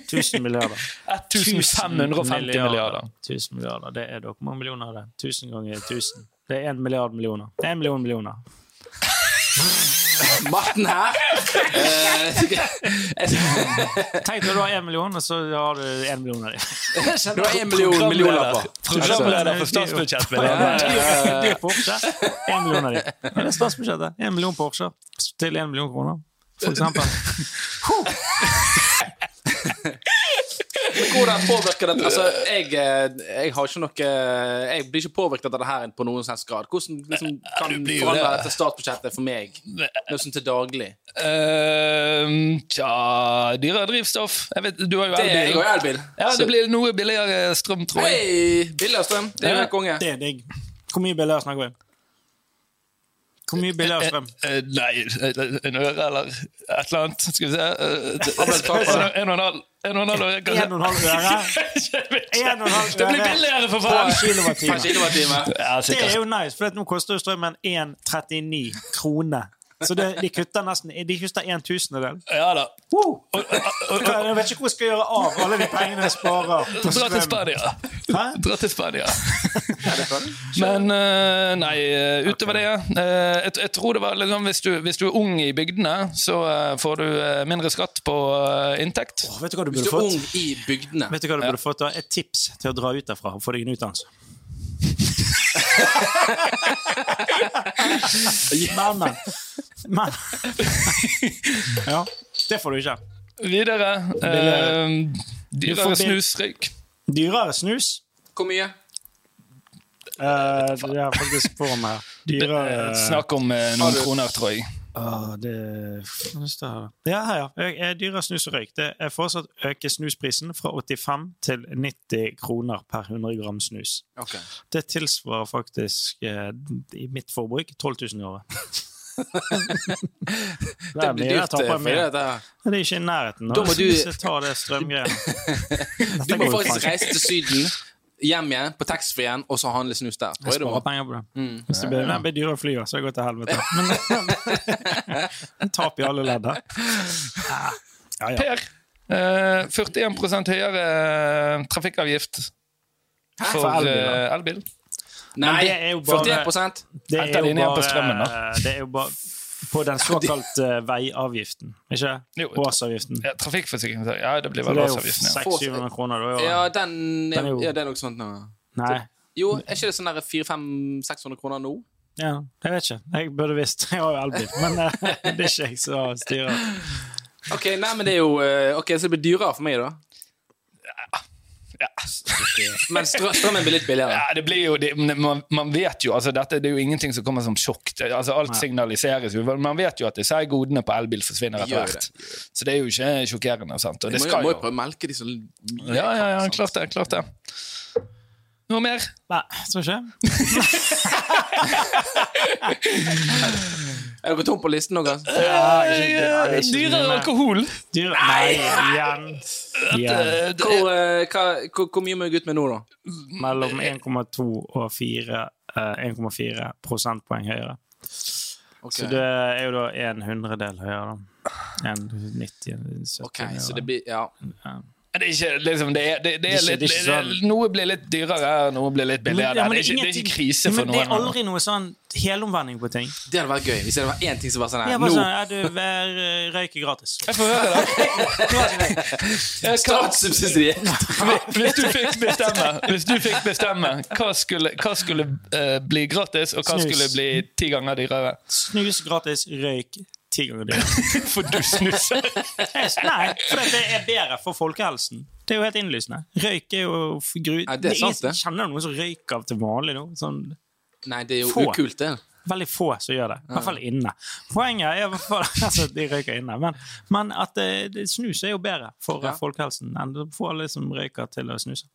Speaker 1: 1000 milliarder.
Speaker 2: 1550 milliarder.
Speaker 1: 1000 milliarder. Det er da hvor mange millioner er det? 1000 ganger 1000. Det er 1 milliard millioner. Det er 1 million millioner.
Speaker 3: Matten her! Eh,
Speaker 1: Tenk når du har 1 million, og så har du 1 million av dem.
Speaker 3: Du har en million millionlapper.
Speaker 2: Programleder for
Speaker 3: Altså,
Speaker 2: statsbudsjettet. vil jeg ha.
Speaker 1: Dyr Porsche. 1 million av dem. Det er statsbudsjettet. 1 million Porscher til 1 million kroner. For eksempel.
Speaker 3: Hvordan påvirker dette Altså, jeg, eh, jeg har ikke noe eh, Jeg blir ikke påvirket av dette her på noen som helst grad. Hvordan liksom, kan
Speaker 2: du blir jo
Speaker 3: forandre
Speaker 2: det.
Speaker 3: dette statsbudsjettet for meg? Liksom til daglig.
Speaker 2: Eh, Tja Dyrere drivstoff. Jeg vet, du har jo
Speaker 3: Det er jeg
Speaker 2: elbil.
Speaker 3: og elbil.
Speaker 2: Ja,
Speaker 3: Så-
Speaker 2: det blir noe billigere strøm, tror jeg.
Speaker 3: Hei! Billigere strøm. Det er jo
Speaker 2: Ja.
Speaker 3: helt konge.
Speaker 1: Det er digg. Hvor mye billigere snakker vi? Hvor mye billigere strøm?
Speaker 2: Eh, eh, nei, eh, en øre eller et eller annet. Skal vi se eh, En og en halv. En og en halv øre, kanskje.
Speaker 1: 1,5 øre?
Speaker 2: Jeg vet ikke.
Speaker 1: En og en halv
Speaker 2: eh, Det blir
Speaker 1: øre.
Speaker 2: billigere, for
Speaker 1: Per
Speaker 2: faen!
Speaker 1: kilowattime.
Speaker 3: Per kilowattime.
Speaker 2: Ja,
Speaker 1: Det er
Speaker 2: sikkert.
Speaker 1: jo nice, for at nå koster jo strømmen 1,39 kroner. Så det, de kutter nesten de kutter en tusendedel.
Speaker 2: Ja da.
Speaker 1: Jeg vet ikke hvor jeg skal gjøre av alle de pengene jeg sparer. på
Speaker 2: Dra
Speaker 1: strøm.
Speaker 2: til Spania.
Speaker 1: Hæ?
Speaker 2: Dra til Spania.
Speaker 3: det kan du.
Speaker 2: Men eh, nei, eh, utover det eh, jeg, jeg tror det var liksom, hvis, du, hvis du er ung i bygdene, så eh, får du eh, mindre skatt på eh, inntekt.
Speaker 1: Åh, vet du hva du
Speaker 3: Hvis
Speaker 1: burde
Speaker 3: du er ung
Speaker 1: fått?
Speaker 3: i bygdene
Speaker 1: Vet du hva du burde fått da? Et tips til å dra ut derfra og få deg en utdannelse. Men, men. men. Ja, det får du ikke.
Speaker 2: Videre
Speaker 1: Videre.
Speaker 2: eh,
Speaker 1: Du får bil-
Speaker 2: Dyrere snusrøyk.
Speaker 1: Dyrere snus.
Speaker 3: Hvor mye?
Speaker 1: Eh, det er faktisk på meg. her. Dyrere
Speaker 2: Eh, Snakk om eh,
Speaker 3: Har
Speaker 2: noen
Speaker 3: du-
Speaker 2: kroner, tror jeg.
Speaker 1: Åh, Ah, det Hva er det her, da? Ja, her, ja. Ø- eh, Dyrere snus og røyk. Det er fortsatt øker snusprisen fra 85 til 90 kroner per 100 gram snus.
Speaker 3: Ok.
Speaker 1: Det tilsvarer faktisk eh, i mitt forbruk 12 000 i året. det
Speaker 3: Det
Speaker 1: er mye
Speaker 3: blir
Speaker 1: jeg
Speaker 3: dyrt. eh,
Speaker 1: taper
Speaker 3: for
Speaker 1: mye.
Speaker 3: dette her.
Speaker 1: Men Det er ikke i nærheten nå.
Speaker 3: Da må
Speaker 1: så
Speaker 3: du-
Speaker 1: Hvis jeg tar det strømgreiene
Speaker 3: Du
Speaker 1: Dette
Speaker 3: må
Speaker 1: går jo
Speaker 3: faktisk
Speaker 1: faen ikke.
Speaker 3: reise til Syden, hjem igjen, på taxfree-en, og så handle snus der.
Speaker 1: Jeg
Speaker 3: Oi, det
Speaker 1: sparer
Speaker 3: var-
Speaker 1: penger på det.
Speaker 3: Mm.
Speaker 1: Hvis det blir, det blir dyrere å fly, så det går til helvete. Men tap i alle ledd her. Ja, ja.
Speaker 2: Per, eh, 41 høyere eh, trafikkavgift for,
Speaker 1: For elbil,
Speaker 2: eh,
Speaker 1: da?
Speaker 2: elbil.
Speaker 1: Men
Speaker 3: Nei,
Speaker 1: det er jo bare-
Speaker 3: 41
Speaker 1: Det
Speaker 2: Henter
Speaker 1: er,
Speaker 2: de
Speaker 1: jo
Speaker 2: inn igjen på
Speaker 1: bare,
Speaker 2: strømmen,
Speaker 1: det er jo bare på den såkalte eh, veiavgiften, ikke
Speaker 2: Jo.
Speaker 1: Årsavgiften.
Speaker 2: Ja, trafikkforsikring. så- Ja, det blir
Speaker 1: Så
Speaker 2: vel
Speaker 1: det er jo
Speaker 2: årsavgiften. Ja.
Speaker 1: 600-700 kroner. Da,
Speaker 3: Ja, den
Speaker 1: Den er jo-
Speaker 3: ja, det er noe sånt nå.
Speaker 1: Nei.
Speaker 3: Jo, er ikke det sånn 400-500-600 kroner nå?
Speaker 1: Ja, jeg vet ikke. Jeg burde visst. Jeg har jo elbil, men eh, det er ikke jeg som styrer.
Speaker 3: Ok, nei, men det er jo eh, Ok, så det blir dyrere for meg, da.
Speaker 2: Ja.
Speaker 3: Men strø strømmen blir litt billigere.
Speaker 2: Ja, det blir jo, det, men man, man vet jo, altså dette, det er jo ingenting som kommer som sjokk. Det- Altså, alt signaliseres jo. Man vet jo at disse her godene på elbil forsvinner etter
Speaker 3: Gjør det,
Speaker 2: hvert. Så det er jo ikke sjokkerende. sant? Og
Speaker 3: Jeg
Speaker 2: det
Speaker 3: må,
Speaker 2: skal
Speaker 3: jo- må jo
Speaker 2: jo.
Speaker 3: prøve å melke de så mye
Speaker 2: Ja, ja, ja,
Speaker 3: jeg kan, sant?
Speaker 2: klart det. klart det. Noe mer?
Speaker 1: Nei, tror ikke.
Speaker 3: Er dere tom på listen noe?
Speaker 1: ja, det er ikke så mye
Speaker 2: Eh, Dyrere
Speaker 1: mer.
Speaker 2: alkohol.
Speaker 1: Dyr. Nei, igjen. igjen.
Speaker 2: Eh, det-
Speaker 3: Hvor, eh, hva, hvor, hvor mye må jeg ut med nå, da?
Speaker 1: Mellom 1,2 og 4 eh, 1,4 prosentpoeng høyere.
Speaker 3: Ok,
Speaker 1: Så det er jo da en hundredel høyere, da. En 90 en 70
Speaker 3: Ok, så det blir Ja.
Speaker 1: høyere.
Speaker 2: Det er ikke liksom, det er, det, det
Speaker 1: Det er
Speaker 2: er sånn.
Speaker 1: ikke-
Speaker 2: litt,
Speaker 1: det er ikke
Speaker 2: det- det- Noe blir litt dyrere, noe blir litt billigere.
Speaker 1: ja,
Speaker 2: det, er ikke, det er
Speaker 1: ingenting-
Speaker 2: ikke krise for
Speaker 1: men Det er
Speaker 2: noen.
Speaker 1: aldri noe sånn helomvending på ting.
Speaker 3: Det hadde vært gøy hvis det var én ting som var sånn
Speaker 1: Det
Speaker 3: her.
Speaker 1: er bare sånn,
Speaker 3: Nå!
Speaker 1: ja, du vær, eh, røyker gratis.
Speaker 2: Jeg får høre det. Eh, hva-
Speaker 3: Statssubsidiert!
Speaker 2: Hvis du fikk bestemme, hvis du fikk bestemme hva skulle, hva skulle eh, bli gratis, og hva
Speaker 1: Snus.
Speaker 2: skulle bli ti ganger dyrere?
Speaker 1: Snus gratis, røyk ti ganger dyrere.
Speaker 2: For du snuser!
Speaker 1: Jeg- Nei, for det er bedre for folkehelsen. Det er jo helt innlysende. Røyk er jo f- gru...
Speaker 3: Ja, det er sant, det.
Speaker 1: Kjenner du noen som røyker av til vanlig nå? Sånn,
Speaker 3: Nei, det er jo
Speaker 1: Få.
Speaker 3: ukult, det.
Speaker 1: veldig få som gjør det. I hvert fall inne. Poenget er i hvert fall altså, de røyker inne, men, men at eh, det, snus er jo bedre for eh,
Speaker 3: Ja.
Speaker 1: folkehelsen enn å få alle som røyker til å snuse.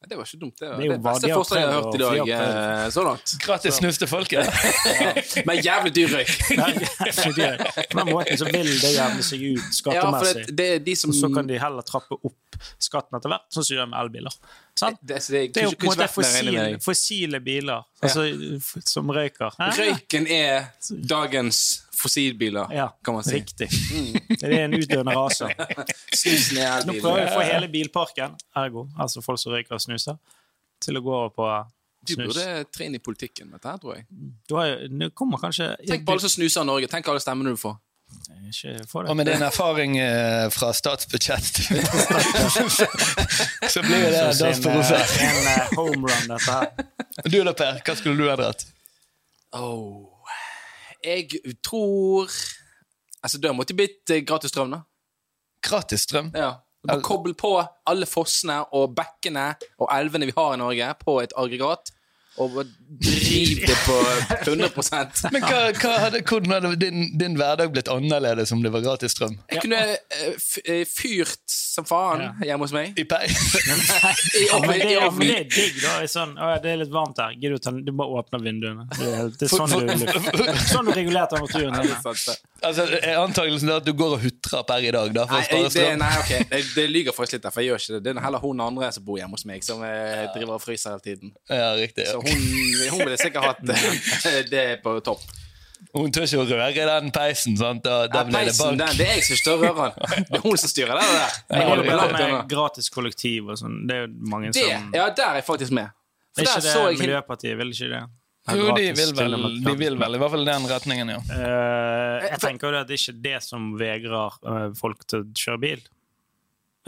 Speaker 3: Ja, Det var ikke dumt, det.
Speaker 1: Det er
Speaker 3: Det
Speaker 1: jo
Speaker 3: er det
Speaker 1: bare- de
Speaker 3: beste
Speaker 1: har
Speaker 3: forslaget jeg har hørt i
Speaker 1: prøvd og-
Speaker 3: dag
Speaker 1: de har prøvd.
Speaker 3: eh, så langt.
Speaker 2: Gratis snus til folket!
Speaker 3: Men jævlig dyr røyk.
Speaker 1: Nei, ikke de. På den måten så vil det jevne seg ut
Speaker 3: Ja, for
Speaker 1: skattemessig.
Speaker 3: det, det er de som
Speaker 1: Og så kan de heller trappe opp skatten etter hvert, sånn som de gjør med elbiler. Sant?
Speaker 3: Det, så det,
Speaker 1: Det er jo på en måte
Speaker 3: kunne ikke vært mer enig
Speaker 1: fossile,
Speaker 3: med deg.
Speaker 1: fossile biler altså, f- som røyker.
Speaker 3: Røyken er dagens fossilbiler,
Speaker 1: Ja,
Speaker 3: kan man si. Mm.
Speaker 1: riktig. Det er en utdøende rase.
Speaker 3: Snusen er
Speaker 1: Nå prøver vi
Speaker 3: elbiler.
Speaker 1: å få hele bilparken, ergo altså folk som røyker og snuser, til å gå over på
Speaker 3: Du
Speaker 1: snus.
Speaker 3: burde tre inn i politikken med dette, her, tror jeg.
Speaker 1: Du har, jo- nå kommer kanskje
Speaker 3: Tenk på alle som snuser i Norge. Tenk alle stemmene du får.
Speaker 1: Ikke få
Speaker 2: Og
Speaker 1: det.
Speaker 2: med din erfaring eh, fra statsbudsjett så blir jo det
Speaker 1: Så
Speaker 2: dans på roser.
Speaker 1: eh, en eh, home run, dette her.
Speaker 2: Du da, Per? Hva skulle du ha dratt?
Speaker 3: Oh. Jeg tror Altså, det måtte blitt eh, gratis strøm, da.
Speaker 2: Gratis strøm?
Speaker 3: Ja. Bare koble på alle fossene og bekkene og elvene vi har i Norge, på et aggregat. Og bare driv det på 100
Speaker 2: Men hva, hva hadde, hvordan hadde din, din hverdag blitt annerledes om det var gratis strøm?
Speaker 3: Jeg kunne eh, f- eh, fyrt som faen hjemme hos meg.
Speaker 2: I peis?
Speaker 3: I,
Speaker 1: Ja, men det,
Speaker 3: i- i-
Speaker 1: ja, men det er digg, da. Det er Sånn, å, ja, det er litt varmt her. Gidder du, ta, den- du bare åpner vinduene. Det er, helt- det er sånn, du, sånn du regulerer temperaturen.
Speaker 3: Nei,
Speaker 1: hjemme.
Speaker 2: Altså, er antakelsen er at du går og hutrer per i dag da, for å spare
Speaker 3: det,
Speaker 2: strøm?
Speaker 3: nei, ok, det, det lyger faktisk litt der, for jeg gjør ikke det. Det er heller hun andre som bor hjemme hos meg, som eh, driver og fryser hele tiden.
Speaker 2: Ja, riktig.
Speaker 3: Så
Speaker 2: Ja.
Speaker 3: hun, hun ville sikkert hatt eh, det på topp.
Speaker 2: Hun tør ikke å røre den peisen, sant? Da, da
Speaker 3: Nei,
Speaker 2: blir det
Speaker 3: peisen,
Speaker 2: bank.
Speaker 3: den, det er jeg som står og rører den. Det er hun som styrer det. det.
Speaker 1: Jeg holder
Speaker 3: Jeg holder meg
Speaker 1: på
Speaker 3: langt unna.
Speaker 1: med gratis kollektiv og sånn. Det er jo mange
Speaker 3: Det,
Speaker 1: som
Speaker 3: ja, der er jeg faktisk med. For
Speaker 1: Er
Speaker 3: der
Speaker 1: ikke
Speaker 3: så jeg
Speaker 1: det
Speaker 3: hin-
Speaker 1: Miljøpartiet? Vil ikke det? Ha
Speaker 2: Jo, de
Speaker 1: gratis
Speaker 2: vil,
Speaker 1: til
Speaker 2: vel,
Speaker 1: og med
Speaker 2: de
Speaker 1: gratis.
Speaker 2: vil vel, i hvert fall i den retningen, ja.
Speaker 1: Eh, jeg tenker jo det at det er ikke det som vegrer eh, folk til å kjøre bil.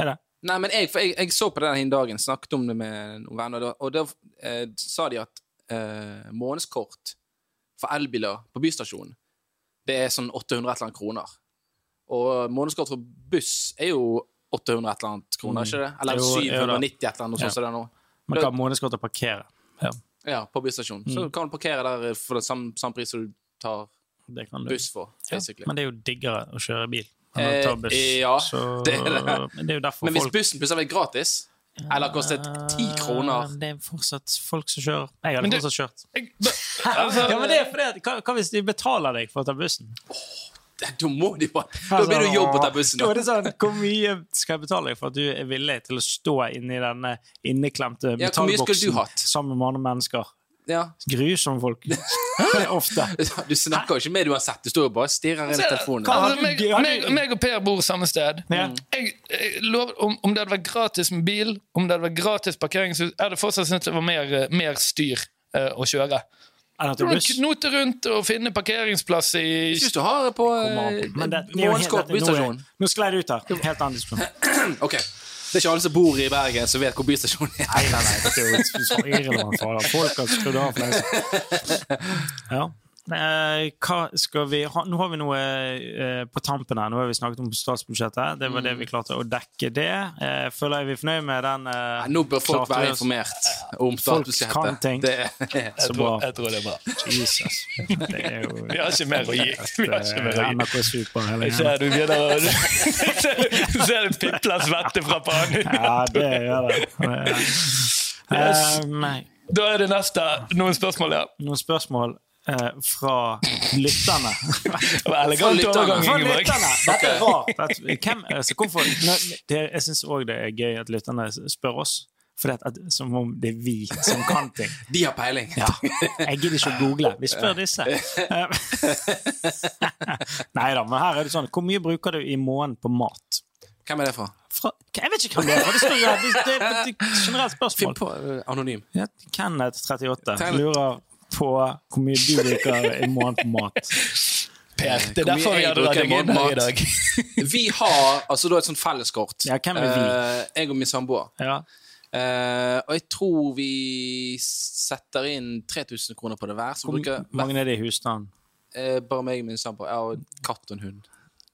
Speaker 1: Er det?
Speaker 3: Nei, men jeg, for jeg, jeg så på det den dagen, snakket om det med noen venner, og da- og da eh, sa de at eh, månedskort for elbiler på bystasjonen, det er sånn 800 et eller annet kroner. Og månedskort for buss er jo 800 et eller annet kroner, ikke det? Eller
Speaker 1: Mm. Jo, jo da.
Speaker 3: 790 et eller annet, noe sånt som det er nå.
Speaker 1: Man kan ha månedskort og parkere. Ja,
Speaker 3: Ja, på bystasjonen. Så
Speaker 1: Mm.
Speaker 3: kan du parkere der eh, for den samme, samme pris som du tar
Speaker 1: det kan du.
Speaker 3: buss for,
Speaker 1: Ja,
Speaker 3: basically.
Speaker 1: men det er jo diggere å kjøre bil enn å ta
Speaker 3: Eh,
Speaker 1: buss.
Speaker 3: ja,
Speaker 1: så,
Speaker 3: det er det.
Speaker 1: Men det er jo derfor
Speaker 3: Men hvis
Speaker 1: folk
Speaker 3: bussen plutselig er gratis, eller kostet 10 kroner
Speaker 1: Eh, Det er fortsatt folk som kjører. Jeg hadde
Speaker 2: Men det-
Speaker 1: fortsatt kjørt.
Speaker 2: Jeg, altså,
Speaker 1: Ja, men det er fordi at, hva, hva hvis de betaler deg for å ta bussen?
Speaker 3: Da må de bare Da blir det jobb å ta bussen.
Speaker 1: Altså, Da er det sånn, Hvor mye skal jeg betale deg for at du er villig til å stå inni denne inneklemte
Speaker 3: Ja, hvor mye skulle du
Speaker 1: metallboksen
Speaker 3: hatt?
Speaker 1: sammen med andre mennesker?
Speaker 3: Ja.
Speaker 1: Grusomme folk. Ofte.
Speaker 3: Du snakker jo ikke med det uansett, du står jo bare og stirrer inn i telefonen.
Speaker 1: Hva-
Speaker 2: Altså, meg,
Speaker 1: hadde-
Speaker 2: meg, meg og Per bor samme sted. Mm.
Speaker 1: Ja.
Speaker 2: Jeg, jeg lover, om, om det hadde vært gratis med bil, om det hadde vært gratis parkeringshus, jeg hadde fortsatt syntes det var mer, eh, mer styr eh, å kjøre.
Speaker 1: Eller
Speaker 2: Du
Speaker 1: til
Speaker 2: må
Speaker 1: buss.
Speaker 2: knote rundt og finne parkeringsplass i
Speaker 3: Jeg synes du har det på eh,
Speaker 1: Men det- det er jo helt- dette-
Speaker 3: Måneskort
Speaker 1: nå er-
Speaker 3: bystasjon.
Speaker 1: Nå sklei det ut her. Helt annen diskusjon.
Speaker 3: Mm, Ok. Det er ikke alle som bor i Bergen, som vet hvor bystasjonen er.
Speaker 1: Nei, nei, nei. Det er jo så irrelevant for alle. Folk har skrudd av for lengst. Ja. Eh, hva skal vi ha? Nå har vi noe eh, på tampen her. Nå har vi snakket om statsbudsjettet. Det var det vi klarte å dekke det. Eh, føler jeg vi er fornøyd med den. eh,
Speaker 3: Nå bør
Speaker 1: klarte
Speaker 3: folk
Speaker 1: vi
Speaker 3: være
Speaker 1: oss-
Speaker 3: informert om
Speaker 1: Folk kan ting.
Speaker 3: statusbudsjettet. Det-
Speaker 1: Så
Speaker 2: jeg
Speaker 1: bra.
Speaker 2: tror, jeg tror det er bra.
Speaker 1: Jesus. Det er jo
Speaker 2: Vi har ikke mer å gi. Vi har ikke mer å gi.
Speaker 1: NRK Super hele
Speaker 3: eh,
Speaker 2: Jeg
Speaker 1: gjengen.
Speaker 2: Ser du begynner å Ser- Ser du pipler svette fra pannen?
Speaker 1: Ja, det gjør det. det.
Speaker 2: Yes.
Speaker 1: Eh, nei.
Speaker 2: Da er det neste. Noen spørsmål, ja.
Speaker 1: noen spørsmål eh, fra lytterne.
Speaker 2: Det var Elegant
Speaker 3: lytterne.
Speaker 2: overgang,
Speaker 1: For
Speaker 2: Ingeborg.
Speaker 1: lytterne! Dette er rart. At- Hvem, altså, hvorfor, Nå, det, jeg syns òg det er gøy at lytterne spør oss, for at, at, som om det er vi som kan ting.
Speaker 3: De har peiling.
Speaker 1: Ja. Jeg gidder ikke å google. Vi spør disse. Nei da, men her er det sånn Hvor mye bruker du i måneden på mat?
Speaker 3: Hvem er det fra?
Speaker 1: Fra, jeg vet ikke hvem det er. Det, står, jo her. det, det er et generelt
Speaker 3: Finn
Speaker 1: spørsmål.
Speaker 3: på eh, anonym.
Speaker 1: Ja, Kenneth, 38,
Speaker 3: Kenneth.
Speaker 1: lurer på hvor mye du bruker i måneden på mat.
Speaker 2: Per, det er
Speaker 3: Hvor mye
Speaker 2: derfor vi
Speaker 3: jeg
Speaker 2: hadde
Speaker 3: bruker
Speaker 2: denne
Speaker 3: min
Speaker 2: måneden
Speaker 3: mat.
Speaker 2: i dag.
Speaker 3: Vi har altså da et sånt felleskort.
Speaker 1: Ja, hvem er vi?
Speaker 3: Eh, jeg og min samboer.
Speaker 1: Ja.
Speaker 3: Eh, og jeg tror vi setter inn 3000 kroner på det hver. Så bruker
Speaker 1: Hvor mange er det i husstanden?
Speaker 3: eh, bare meg og min samboer. Ja, og katt og en hund.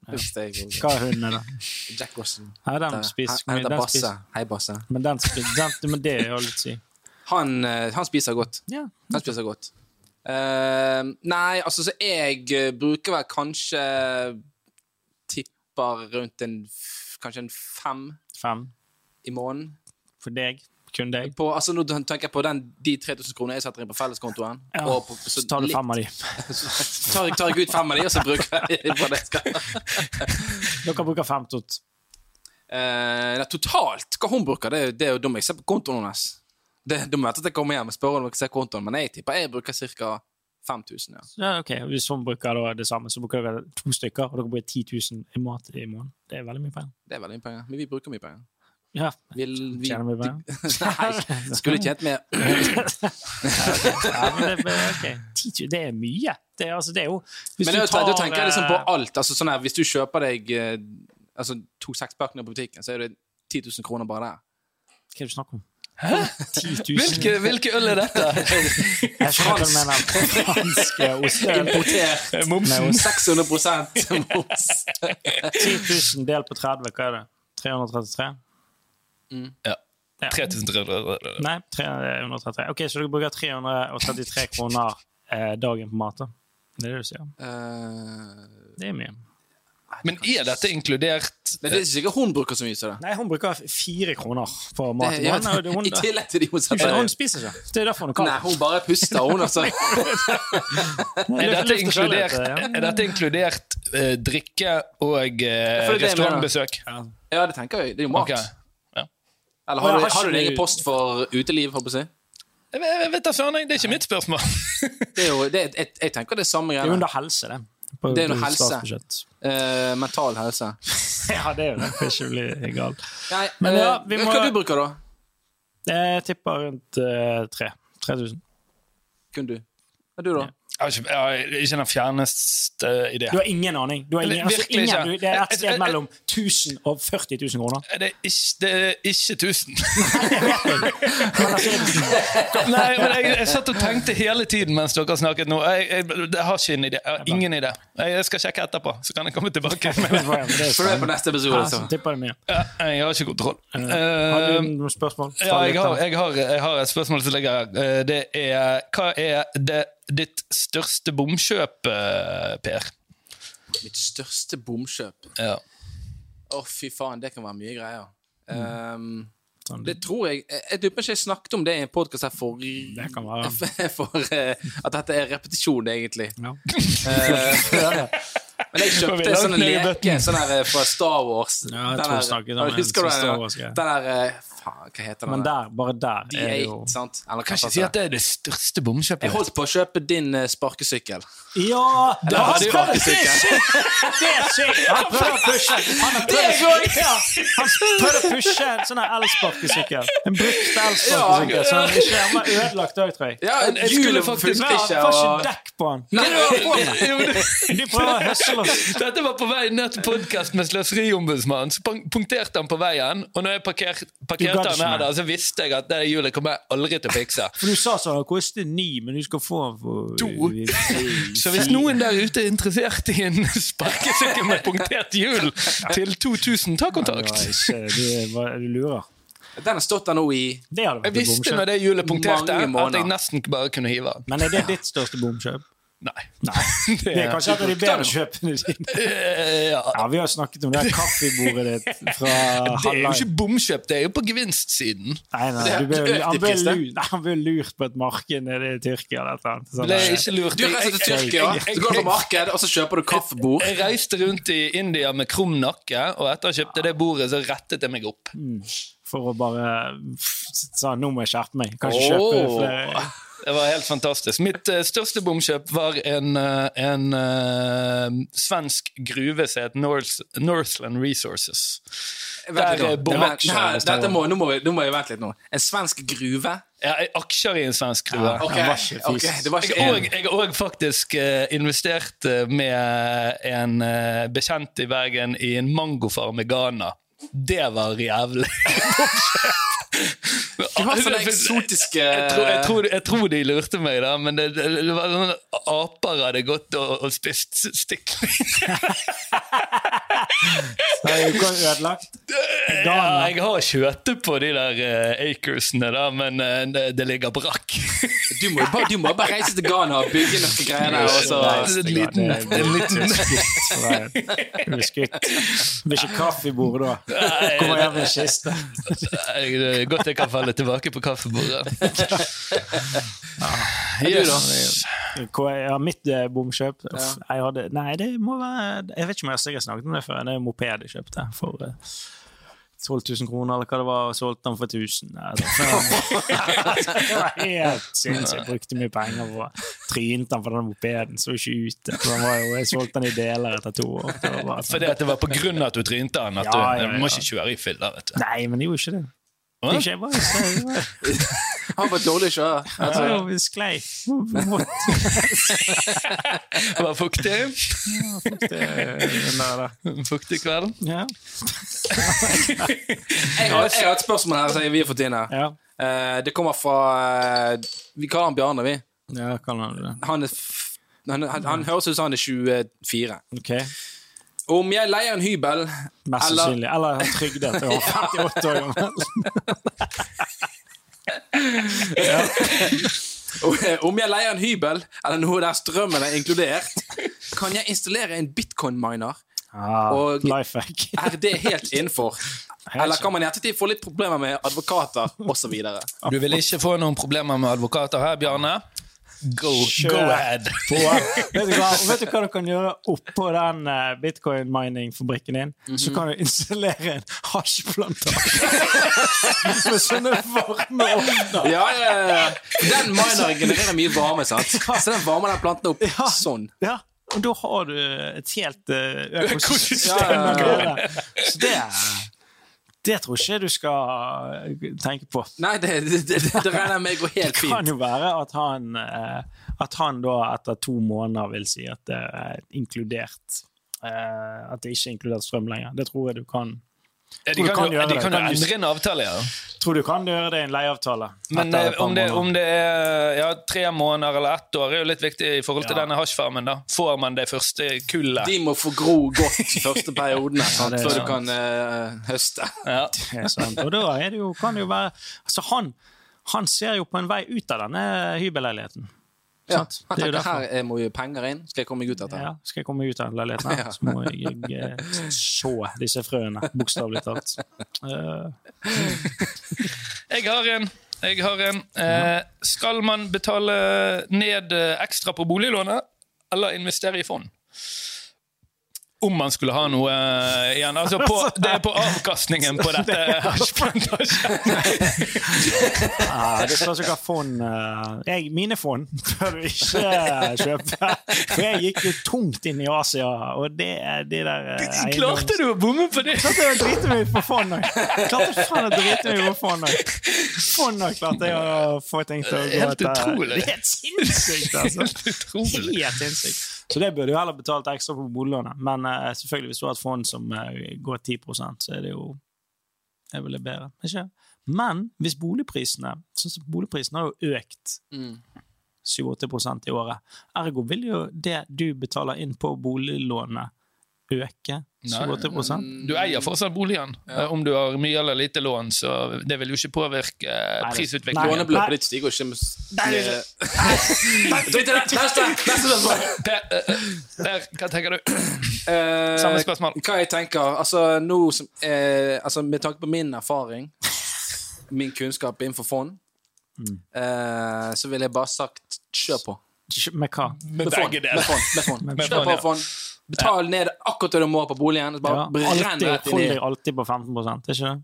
Speaker 3: Hvis det er god.
Speaker 1: Hva er hunden, da?
Speaker 3: Jack Russell.
Speaker 1: Nei, den
Speaker 3: Der.
Speaker 1: spiser
Speaker 3: Han
Speaker 1: mye.
Speaker 3: heter
Speaker 1: Den
Speaker 3: Basse.
Speaker 1: spiser.
Speaker 3: Hei, Basse.
Speaker 1: Men den spiser, den, men det er jo litt si.
Speaker 3: Han, eh, han spiser godt.
Speaker 1: Ja.
Speaker 3: Han spiser godt. Eh, nei, altså, så jeg eh, bruker vel kanskje Tipper rundt en f- Kanskje en fem
Speaker 1: Fem.
Speaker 3: i måneden.
Speaker 1: For deg. Kun deg.
Speaker 3: På, altså nå tenker jeg på den, de 3000 kronene jeg setter inn på felleskontoen.
Speaker 1: Ja.
Speaker 3: og på,
Speaker 1: Så tar du
Speaker 3: litt-
Speaker 1: fem av de.
Speaker 3: så tar, jeg- tar jeg ut fem av de, og så bruker jeg på det jeg skal.
Speaker 1: Dere bruker fem tot.
Speaker 3: Eh, nei, totalt hva hun bruker, det, er jo- det er jo da må jeg se på kontoen hennes. Det, da må jeg vente til jeg kommer hjem og spør henne om jeg kan se kontoen, men jeg tipper jeg bruker ca. 5000. ja.
Speaker 1: Ja, ok. Hvis hun bruker da det samme, så bruker dere to stykker, og dere bruker 10 000 i mat i måneden. Det er veldig mye penger.
Speaker 3: Det er veldig mye penger. Men vi bruker mye penger.
Speaker 1: Ja.
Speaker 3: Vi, vi,
Speaker 1: Tjener mye penger.
Speaker 3: nei, skulle tjent mer.
Speaker 1: Ja, men det, men ok. 10 000, det er mye. Det er, altså, det er jo hvis
Speaker 3: Men da
Speaker 1: du tar,
Speaker 3: da tenker jeg liksom
Speaker 1: eh,
Speaker 3: på alt. Altså, sånn her, hvis du kjøper deg eh, altså, to sekspakninger på butikken, så er det 10 000 kroner bare der.
Speaker 1: Hva er det du snakker om? 10 000?
Speaker 2: Hvilke, hvilke øl er dette?
Speaker 1: Jeg skjønner hva du mener. Franske osteøl.
Speaker 3: Importert
Speaker 1: Nei,
Speaker 2: Momsen.
Speaker 3: 600 moms.
Speaker 1: 10 000 delt på 30, hva er det? 333?
Speaker 2: Ja.
Speaker 1: Ja.
Speaker 2: 3300.
Speaker 1: Nei, 333. Ok, Så dere bruker 333 kroner eh, dagen på mat? da. Det er det du sier.
Speaker 3: Eh,
Speaker 1: Det er mye.
Speaker 2: Men er dette inkludert
Speaker 3: Men det er ikke sikkert hun bruker så mye som det.
Speaker 1: Nei, hun bruker fire kroner på
Speaker 3: det
Speaker 1: mat.
Speaker 3: ja,
Speaker 1: Hun, hun,
Speaker 3: I
Speaker 1: hun,
Speaker 3: tillegg til de hun
Speaker 1: hun,
Speaker 3: setter inn.
Speaker 1: spiser ikke. Det er derfor hun er
Speaker 3: Nei,
Speaker 1: kald.
Speaker 3: hun bare puster, hun, altså.
Speaker 2: Er
Speaker 1: Løft-
Speaker 2: dette
Speaker 1: løft og skjøl litt,
Speaker 2: inkludert, er dette inkludert eh, drikke og eh,
Speaker 3: føler det er med, da.
Speaker 2: restaurantbesøk?
Speaker 1: Ja.
Speaker 3: Ja, det tenker jeg. Det er jo mat.
Speaker 2: Ok.
Speaker 3: Eller
Speaker 1: Men
Speaker 3: har du,
Speaker 1: har ikke
Speaker 3: har du en
Speaker 1: du-
Speaker 3: egen post for uteliv, holdt på å si?
Speaker 2: Jeg vet, jeg vet da søren, jeg. Det er ikke mitt spørsmål.
Speaker 3: Det er jo, det, er- jeg, jeg tenker det er samme
Speaker 1: Det er jo
Speaker 3: greiene.
Speaker 1: under helse, det. På-
Speaker 3: Det er under
Speaker 1: på
Speaker 3: helse.
Speaker 1: statsbudsjett.
Speaker 3: Eh, mental helse.
Speaker 1: Ja, det er jo det. For ikke å bli gal.
Speaker 3: Nei,
Speaker 1: Men
Speaker 3: eh,
Speaker 1: ja, vi må-
Speaker 3: Hva du bruker da?
Speaker 1: Jeg tipper rundt eh, tre. 3000.
Speaker 3: Kun du. Hva du da?
Speaker 2: Jeg har ikke, jeg har ikke den fjerneste eh, idé.
Speaker 1: Du har ingen aning. Du har ingen, altså,
Speaker 2: Virkelig
Speaker 1: ingen,
Speaker 2: ikke.
Speaker 1: du, det er et
Speaker 2: Jeg- jeg-
Speaker 1: sted mellom 1000 og 40 000 kroner.
Speaker 2: Det er ikke, det er ikke 1000.
Speaker 1: Men altså,
Speaker 2: Nei, men jeg, jeg satt og tenkte hele tiden mens dere snakket nå. Jeg, jeg, jeg har ikke en idé. Jeg har ingen idé. Jeg, jeg skal sjekke etterpå, så kan jeg komme tilbake.
Speaker 1: det
Speaker 2: Men,
Speaker 1: er sånn.
Speaker 3: For det er på neste episode,
Speaker 1: Ja,
Speaker 3: så.
Speaker 1: så tipper jeg mye.
Speaker 2: ja, jeg har ikke kontroll.
Speaker 1: Har
Speaker 2: Eh,
Speaker 1: du noen spørsmål? fra
Speaker 2: ja, jeg, har,
Speaker 1: lytterne?
Speaker 2: jeg, har, jeg har et spørsmål som ligger her. Eh, Det er Hva er det, ditt største bomkjøp, eh, Per?
Speaker 3: Mitt største bomkjøp.
Speaker 2: Ja.
Speaker 3: Å, fy faen, det kan være mye greier.
Speaker 1: Mm.
Speaker 3: Ehm,
Speaker 1: Sånn,
Speaker 3: det tror jeg Jeg jeg lurer på om ikke jeg snakket om det i en podkast her for,
Speaker 1: Det kan være.
Speaker 3: for eh, At dette er repetisjon, egentlig.
Speaker 1: Ja.
Speaker 3: Eh, Men jeg
Speaker 2: Får vi
Speaker 3: kjøpte
Speaker 2: langt
Speaker 3: sånn
Speaker 2: ned i
Speaker 3: leke
Speaker 2: bøtten?
Speaker 3: sånn her eh, fra Star Wars.
Speaker 1: Ja, jeg
Speaker 3: Den
Speaker 1: tror
Speaker 3: her-
Speaker 1: jeg snakket om en
Speaker 3: Husker du
Speaker 1: sånn Star
Speaker 3: den?
Speaker 1: Wars-greie.
Speaker 3: Den her eh, Faen, hva heter den?
Speaker 1: Men
Speaker 3: der?
Speaker 1: der, bare der er det jo
Speaker 3: D8, sant? Eller hva
Speaker 2: Kan
Speaker 3: faen
Speaker 2: ikke si
Speaker 3: det
Speaker 2: at det er det største
Speaker 3: er. Jeg
Speaker 2: bomkjøpet.
Speaker 3: holdt på å kjøpe din eh, sparkesykkel.
Speaker 1: Ja! Da
Speaker 3: hadde
Speaker 1: skal
Speaker 3: jo alltid
Speaker 1: det
Speaker 3: sikkert.
Speaker 1: skje! Det er sykt! Han prøver å pushe Han har prøvd å- Ja, han prøvde å pushe en sånn her elsparkesykkel. En brukt elsparkesykkel.
Speaker 3: Ja.
Speaker 1: Så han ikke han var ødelagt òg, tror jeg.
Speaker 3: Ja,
Speaker 2: Jeg- jeg skulle
Speaker 3: hjulet
Speaker 2: faktisk-
Speaker 3: funket
Speaker 1: Men han
Speaker 3: ikke.
Speaker 1: får ikke
Speaker 3: Og...
Speaker 1: dekk på han.
Speaker 3: Nei,
Speaker 2: Jo, men det-
Speaker 1: De prøver å høsle oss.
Speaker 2: Dette var på vei ned til podkast med Sløseriombudsmannen. Så punk- punkterte han på veien, og når jeg parker,
Speaker 1: Du gadd
Speaker 2: parkerte han
Speaker 1: ikke
Speaker 2: her,
Speaker 1: mer.
Speaker 2: da, så visste jeg at det hjulet kommer jeg aldri til å fikse.
Speaker 1: For du sa sånn det koster ni, men du skal få den for
Speaker 2: To. Så hvis noen der ute er interessert i en sparkesykkel med punktert hjul til 2000, ta
Speaker 1: Det var
Speaker 2: kontakt.
Speaker 1: ikke, du, var- du lurer.
Speaker 3: Den har stått der nå i
Speaker 1: Det hadde
Speaker 2: Jeg
Speaker 1: vært et
Speaker 2: visste
Speaker 1: bomkjøp.
Speaker 2: når det hjulet punkterte,
Speaker 3: Mange måneder.
Speaker 2: at jeg nesten bare kunne hive den.
Speaker 1: Men er det ditt største bomkjøp?
Speaker 2: Nei.
Speaker 1: Nei. Det er kanskje et av de bedre kjøpene dine.
Speaker 2: Eh, ja.
Speaker 1: Ja, Vi har snakket om det her kaffebordet ditt fra
Speaker 2: Det er jo
Speaker 1: Halland.
Speaker 2: ikke bomkjøp, det er jo på gevinstsiden.
Speaker 1: Nei, nei,
Speaker 3: er
Speaker 1: du ble,
Speaker 3: helt
Speaker 1: han, ble
Speaker 3: ødepiss, det.
Speaker 1: lurt, nei, han ble lurt på et marked nede i Tyrkia. eller et eller annet. Sånn,
Speaker 2: Ble
Speaker 1: eh,
Speaker 2: ikke lurt.
Speaker 3: Du reiser
Speaker 2: Jeg-
Speaker 3: til
Speaker 2: jeg-
Speaker 3: Tyrkia,
Speaker 2: jeg-
Speaker 3: så går du på marked, og så kjøper du kaffebord.
Speaker 2: Jeg reiste rundt i India med krum nakke, og etter å ha kjøpt det bordet, så rettet jeg meg opp.
Speaker 1: For å bare sa nå må jeg skjerpe meg. Kanskje kjøpe
Speaker 3: Åh.
Speaker 1: flere.
Speaker 2: Det var helt fantastisk. Mitt eh, største bomkjøp var en, eh, en eh, svensk gruve som het North, Northland Resources.
Speaker 3: Vent litt
Speaker 2: Der
Speaker 3: nå.
Speaker 2: er bomaksjer,
Speaker 3: Nei,
Speaker 2: hvis det
Speaker 3: eh,
Speaker 2: sånn
Speaker 3: dette må, nå, må vi, nå må jeg vente litt nå. En svensk gruve?
Speaker 2: Jeg har aksjer i en svensk gruve.
Speaker 3: Ok,
Speaker 1: Den var ikke
Speaker 3: ok,
Speaker 1: fis.
Speaker 3: det var
Speaker 2: Jeg
Speaker 3: ikke
Speaker 2: har
Speaker 3: en.
Speaker 2: òg- jeg har òg faktisk eh, investert eh, med en eh, bekjent i Bergen i en mangofarm i Ghana. Det var jævlig.
Speaker 3: Du har sånne eksotiske
Speaker 2: Jeg tror, jeg, tror, jeg tror de lurte meg, da, men det, det, det var sånn at aper hadde gått og, og spist stikling.
Speaker 1: Det er jo ikke ødelagt.
Speaker 2: Ja, jeg har kjøttet på de der eh, acresene, da, men eh, det, det ligger brakk.
Speaker 3: Du må jo bare, du må bare reise til Ghana og bygge noen greier der. altså. Og
Speaker 2: Nei,
Speaker 3: så.
Speaker 2: en liten- en liten-
Speaker 1: Du blir skutt. Det blir ikke kaffe i bordet da.
Speaker 2: Nei,
Speaker 1: Kommer hjem med en kiste.
Speaker 2: Nei, det er Godt jeg kan falle tilbake på kaffebordet. Yes.
Speaker 1: Hvor jeg har mitt eh, bomkjøp Uff, jeg hadde, Nei, det må være Jeg vet ikke om jeg har sikkert snakket om det før. Det er en moped jeg kjøpte for eh, 12 000 kroner, eller hva det var, og solgte den for 1000. Nei, det- det var helt sinnssykt. Jeg brukte mye penger på Trynet den på den mopeden, så ikke ut. Den var jo, jeg solgte den i deler etter to år. Det var bare sånn.
Speaker 2: Fordi at det var på grunn av at du trynte han, at du,
Speaker 1: Ja, ja, ja.
Speaker 2: du må ikke kjøre i filler, vet du.
Speaker 1: sånn- Nei, men det gjorde ikke det. Det er ikke jeg bare jeg bare-
Speaker 3: Han var dårlig å kjøre.
Speaker 1: jeg tror jeg sklei. Vått.
Speaker 2: Det var fuktig.
Speaker 1: Den der, da.
Speaker 2: En fuktig kveld.
Speaker 1: Ja.
Speaker 3: Jeg har, jeg har et spørsmål her som vi har fått inn her.
Speaker 1: Ja.
Speaker 3: Eh, det kommer fra eh, Vi kaller han Bjarne, vi.
Speaker 1: ja, kan han det.
Speaker 3: Han, er f han, han, han høres ut som han er 24.
Speaker 1: Ok.
Speaker 3: Om jeg leier en hybel
Speaker 1: Mest
Speaker 3: Eller-
Speaker 1: sannsynlig. Eller han trygde til han var 58 år gammel.
Speaker 3: Om jeg leier en hybel eller noe der strømmen er inkludert, kan jeg installere en bitcoin-miner?
Speaker 1: Ah,
Speaker 3: Og-
Speaker 1: Life hack.
Speaker 3: Er det helt innenfor? Eller kan man i ettertid få litt problemer med advokater osv.?
Speaker 2: Du vil ikke få noen problemer med advokater her, Bjarne? Go, go
Speaker 1: Kjør.
Speaker 2: ahead!
Speaker 1: På, vet, du hva, Og vet du hva du kan gjøre oppå den eh, bitcoin-mining-fabrikken din?
Speaker 3: Mhm.
Speaker 1: Så kan du installere en hasjplantasje med sånne varme ovner.
Speaker 3: Ja, ja, ja. Den mineren genererer mye varme, sant? Så den varmer den planten opp
Speaker 1: Ja.
Speaker 3: sånn.
Speaker 1: Ja, og da har du et helt eh,
Speaker 2: Økosystem.
Speaker 1: økosystem å gjøre. Så det, det tror ikke jeg du skal eh, tenke på.
Speaker 3: Nei, det, det, det, det regner jeg med går helt
Speaker 1: Det kan
Speaker 3: fint.
Speaker 1: jo være at han, eh, at han da etter to måneder vil si at det er inkludert eh, At det ikke er inkludert strøm lenger. Det tror jeg du kan.
Speaker 2: De
Speaker 1: Tror du
Speaker 2: kan
Speaker 1: kan
Speaker 2: jo
Speaker 1: gjøre
Speaker 2: de
Speaker 1: det.
Speaker 2: kan jo endre en avtale, ja.
Speaker 1: Tror du kan gjøre det i en leieavtale.
Speaker 2: Men
Speaker 1: etter et
Speaker 2: eh,
Speaker 1: par
Speaker 2: om det,
Speaker 1: måneder?
Speaker 2: om det er ja, tre måneder eller ett år, er jo litt viktig i forhold til
Speaker 1: Ja.
Speaker 2: denne hasjfarmen. da. Får man det første kullet?
Speaker 3: De må få gro godt de første periodene, sant?
Speaker 1: det er
Speaker 3: før du
Speaker 1: sant.
Speaker 3: kan eh, høste.
Speaker 2: Ja.
Speaker 1: Det er sant. Og da er det jo, kan det jo være Altså, han, han ser jo på en vei ut av denne hybelleiligheten.
Speaker 3: Ja,
Speaker 1: Sant? Det er
Speaker 3: han
Speaker 1: jo
Speaker 3: tenker
Speaker 1: derfor.
Speaker 3: her jeg må jo penger inn, skal jeg komme meg ut av dette?
Speaker 1: Ja, skal jeg komme ut av den leiligheten, her,
Speaker 3: Ja.
Speaker 1: så må jeg eh, så disse frøene, bokstavelig talt. Eh,
Speaker 2: Jeg har en. Jeg har en. Eh, skal man betale ned eh, ekstra på boliglånet, eller investere i fond? Om man skulle ha noe eh, igjen. Altså på, det er på avkastningen på dette hasjplantasjen. Ah,
Speaker 1: Ja, det spørs jo hva fond eh, jeg, Mine fond bør du ikke eh, kjøpe. For jeg gikk jo tungt inn i Asia, og det er de der eh, eiendoms-
Speaker 2: Klarte du å bomme på det?
Speaker 1: Klarte jeg å drite meg ut på fond òg! Klarte faen å drite meg ut på fond òg! Fond òg klarte jeg å få ting til å gå
Speaker 2: Helt
Speaker 1: etter.
Speaker 2: utrolig.
Speaker 1: Det er helt sinnssykt, altså!
Speaker 2: Helt utrolig.
Speaker 1: Helt sinnssykt. Så det burde du heller betalt ekstra på boliglånet. Men eh, selvfølgelig, hvis du har et fond som eh, går 10 så er det jo Det er vel det bedre. Ikke? Men hvis boligprisene sånn som Boligprisene har jo økt
Speaker 3: Mm.
Speaker 1: 7-8 i året. Ergo vil jo det du betaler inn på boliglånet, øke
Speaker 2: Nei.
Speaker 1: 7-8
Speaker 3: Mm.
Speaker 2: Du eier fortsatt boligen. Eh, Om du har mye eller lite lån, så det vil jo ikke påvirke eh,
Speaker 1: Nei, det-
Speaker 2: prisutviklingen.
Speaker 1: Nei.
Speaker 3: Lånebeløpet ditt stiger jo ikke med
Speaker 1: Nei, det er
Speaker 3: med- Drit i det! Neste! Neste spørsmål!
Speaker 2: Per, eh, eh, Per, hva tenker du?
Speaker 3: Eh,
Speaker 2: Samme spørsmål.
Speaker 3: Hva jeg tenker, altså, nå som, eh, altså Med tanke på min erfaring, min kunnskap innenfor fond, eh, så ville jeg bare sagt kjør på.
Speaker 1: Med hva?
Speaker 2: Med
Speaker 3: fond, med fond, med fond.
Speaker 2: Med
Speaker 3: Kjør
Speaker 2: fond, ja.
Speaker 3: på fond. Betal ned akkurat det du må på boligen. og
Speaker 1: Ja,
Speaker 3: Bare brenn
Speaker 1: alltid,
Speaker 3: rett inn
Speaker 1: hold
Speaker 3: i
Speaker 1: deg alltid på 15 er ikke det?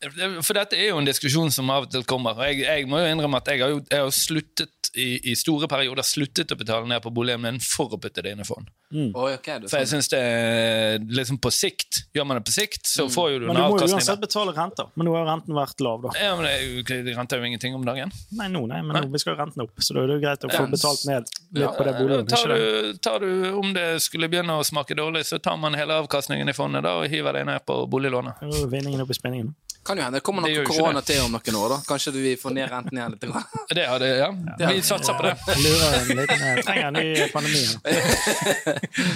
Speaker 2: For dette er jo en diskusjon som av og til kommer. Og jeg, jeg må jo innrømme at jeg har jo jeg har jo sluttet i, i store perioder sluttet å betale ned på boligen min for å putte det inn i fond.
Speaker 3: Oi, ok, det er
Speaker 2: For jeg
Speaker 3: sånn.
Speaker 2: synes det er liksom på sikt. Gjør man det på sikt, så får jo du
Speaker 1: Mm. Men
Speaker 2: en
Speaker 1: du må jo
Speaker 2: avkastning.
Speaker 1: uansett
Speaker 2: der.
Speaker 1: betale renter. Men nå har jo renten vært lav, da.
Speaker 2: Ja, men det, er jo- det renter jo ingenting om dagen.
Speaker 1: Nei, nå, nei, men nå, vi skal jo renten opp, så da er det jo greit å få
Speaker 3: Ja.
Speaker 1: betalt ned litt på det
Speaker 2: Ja,
Speaker 1: boliglånet.
Speaker 2: Eh, tar,
Speaker 1: ikke det?
Speaker 2: du, tar du, om det skulle begynne å smake dårlig, så tar man hele avkastningen i fondet da, og hiver det ned på boliglånet.
Speaker 1: Nå er Vinningen opp i spinningen.
Speaker 3: Kan jo hende det kommer
Speaker 2: Det gjør jo
Speaker 3: noe
Speaker 2: ikke
Speaker 3: korona
Speaker 2: det.
Speaker 3: til om noen år. da Kanskje vi får ned renten igjen litt. grann.
Speaker 2: Det hadde, ja. Vi satser på det.
Speaker 1: Lurer en liten, eh, trenger en ny pandemi. da.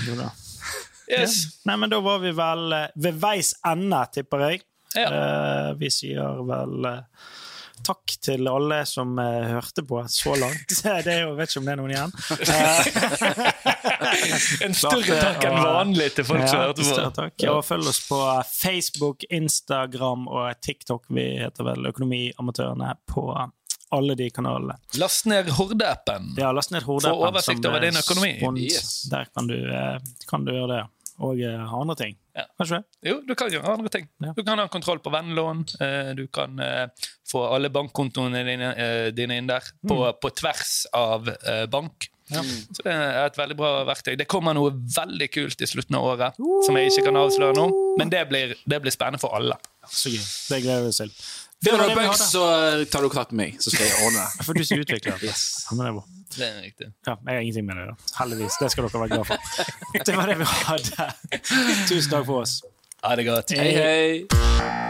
Speaker 1: Jo da.
Speaker 2: Yes.
Speaker 1: Nei, men da var vi vel eh, ved veis ende, tipper jeg.
Speaker 2: Ja.
Speaker 1: Eh, vi sier vel eh, takk til alle som eh, hørte på så langt. Det er jo, vet ikke om det er noen igjen.
Speaker 2: En større takk enn vanlig til folk som
Speaker 1: Ja,
Speaker 2: hørte
Speaker 1: større
Speaker 2: på.
Speaker 1: takk. Og følg oss på Facebook, Instagram og TikTok. Vi heter vel Økonomiamatørene på alle de kanalene.
Speaker 2: Last ned Horde-appen.
Speaker 1: Ja, last ned Horde.
Speaker 2: Få oversikt over din økonomi.
Speaker 3: Yes.
Speaker 1: eh, Der kan du, eh, kan du gjøre det. Og eh, andre ting.
Speaker 2: Ja.
Speaker 1: Kanskje det?
Speaker 2: Jo, du kan gjøre andre ting.
Speaker 1: Ja.
Speaker 2: Du kan ha kontroll på vennlån. eh, Du kan eh, få alle bankkontoene dine, eh, dine inn der, på, på tvers av eh, bank.
Speaker 1: Mm. Ja.
Speaker 2: Så det er et veldig bra verktøy. Det kommer noe veldig kult i slutten av året, som jeg ikke kan avsløre nå, men det blir, det blir spennende for alle.
Speaker 1: Så gøy. Det gleder vi oss til. Det
Speaker 3: Finner
Speaker 1: var
Speaker 3: du
Speaker 1: det vi
Speaker 3: bugs,
Speaker 1: hadde.
Speaker 3: så tar du kontakt med meg, så skal jeg ordne det.
Speaker 1: For du som utvikler. Ja, men det er bra.
Speaker 2: Det er riktig.
Speaker 1: Ja, jeg har ingenting med det. da. Heldigvis. Det skal dere være glad for. Det var det vi hadde. Tusen takk for oss.
Speaker 2: Ha det godt.
Speaker 3: Hei, hei.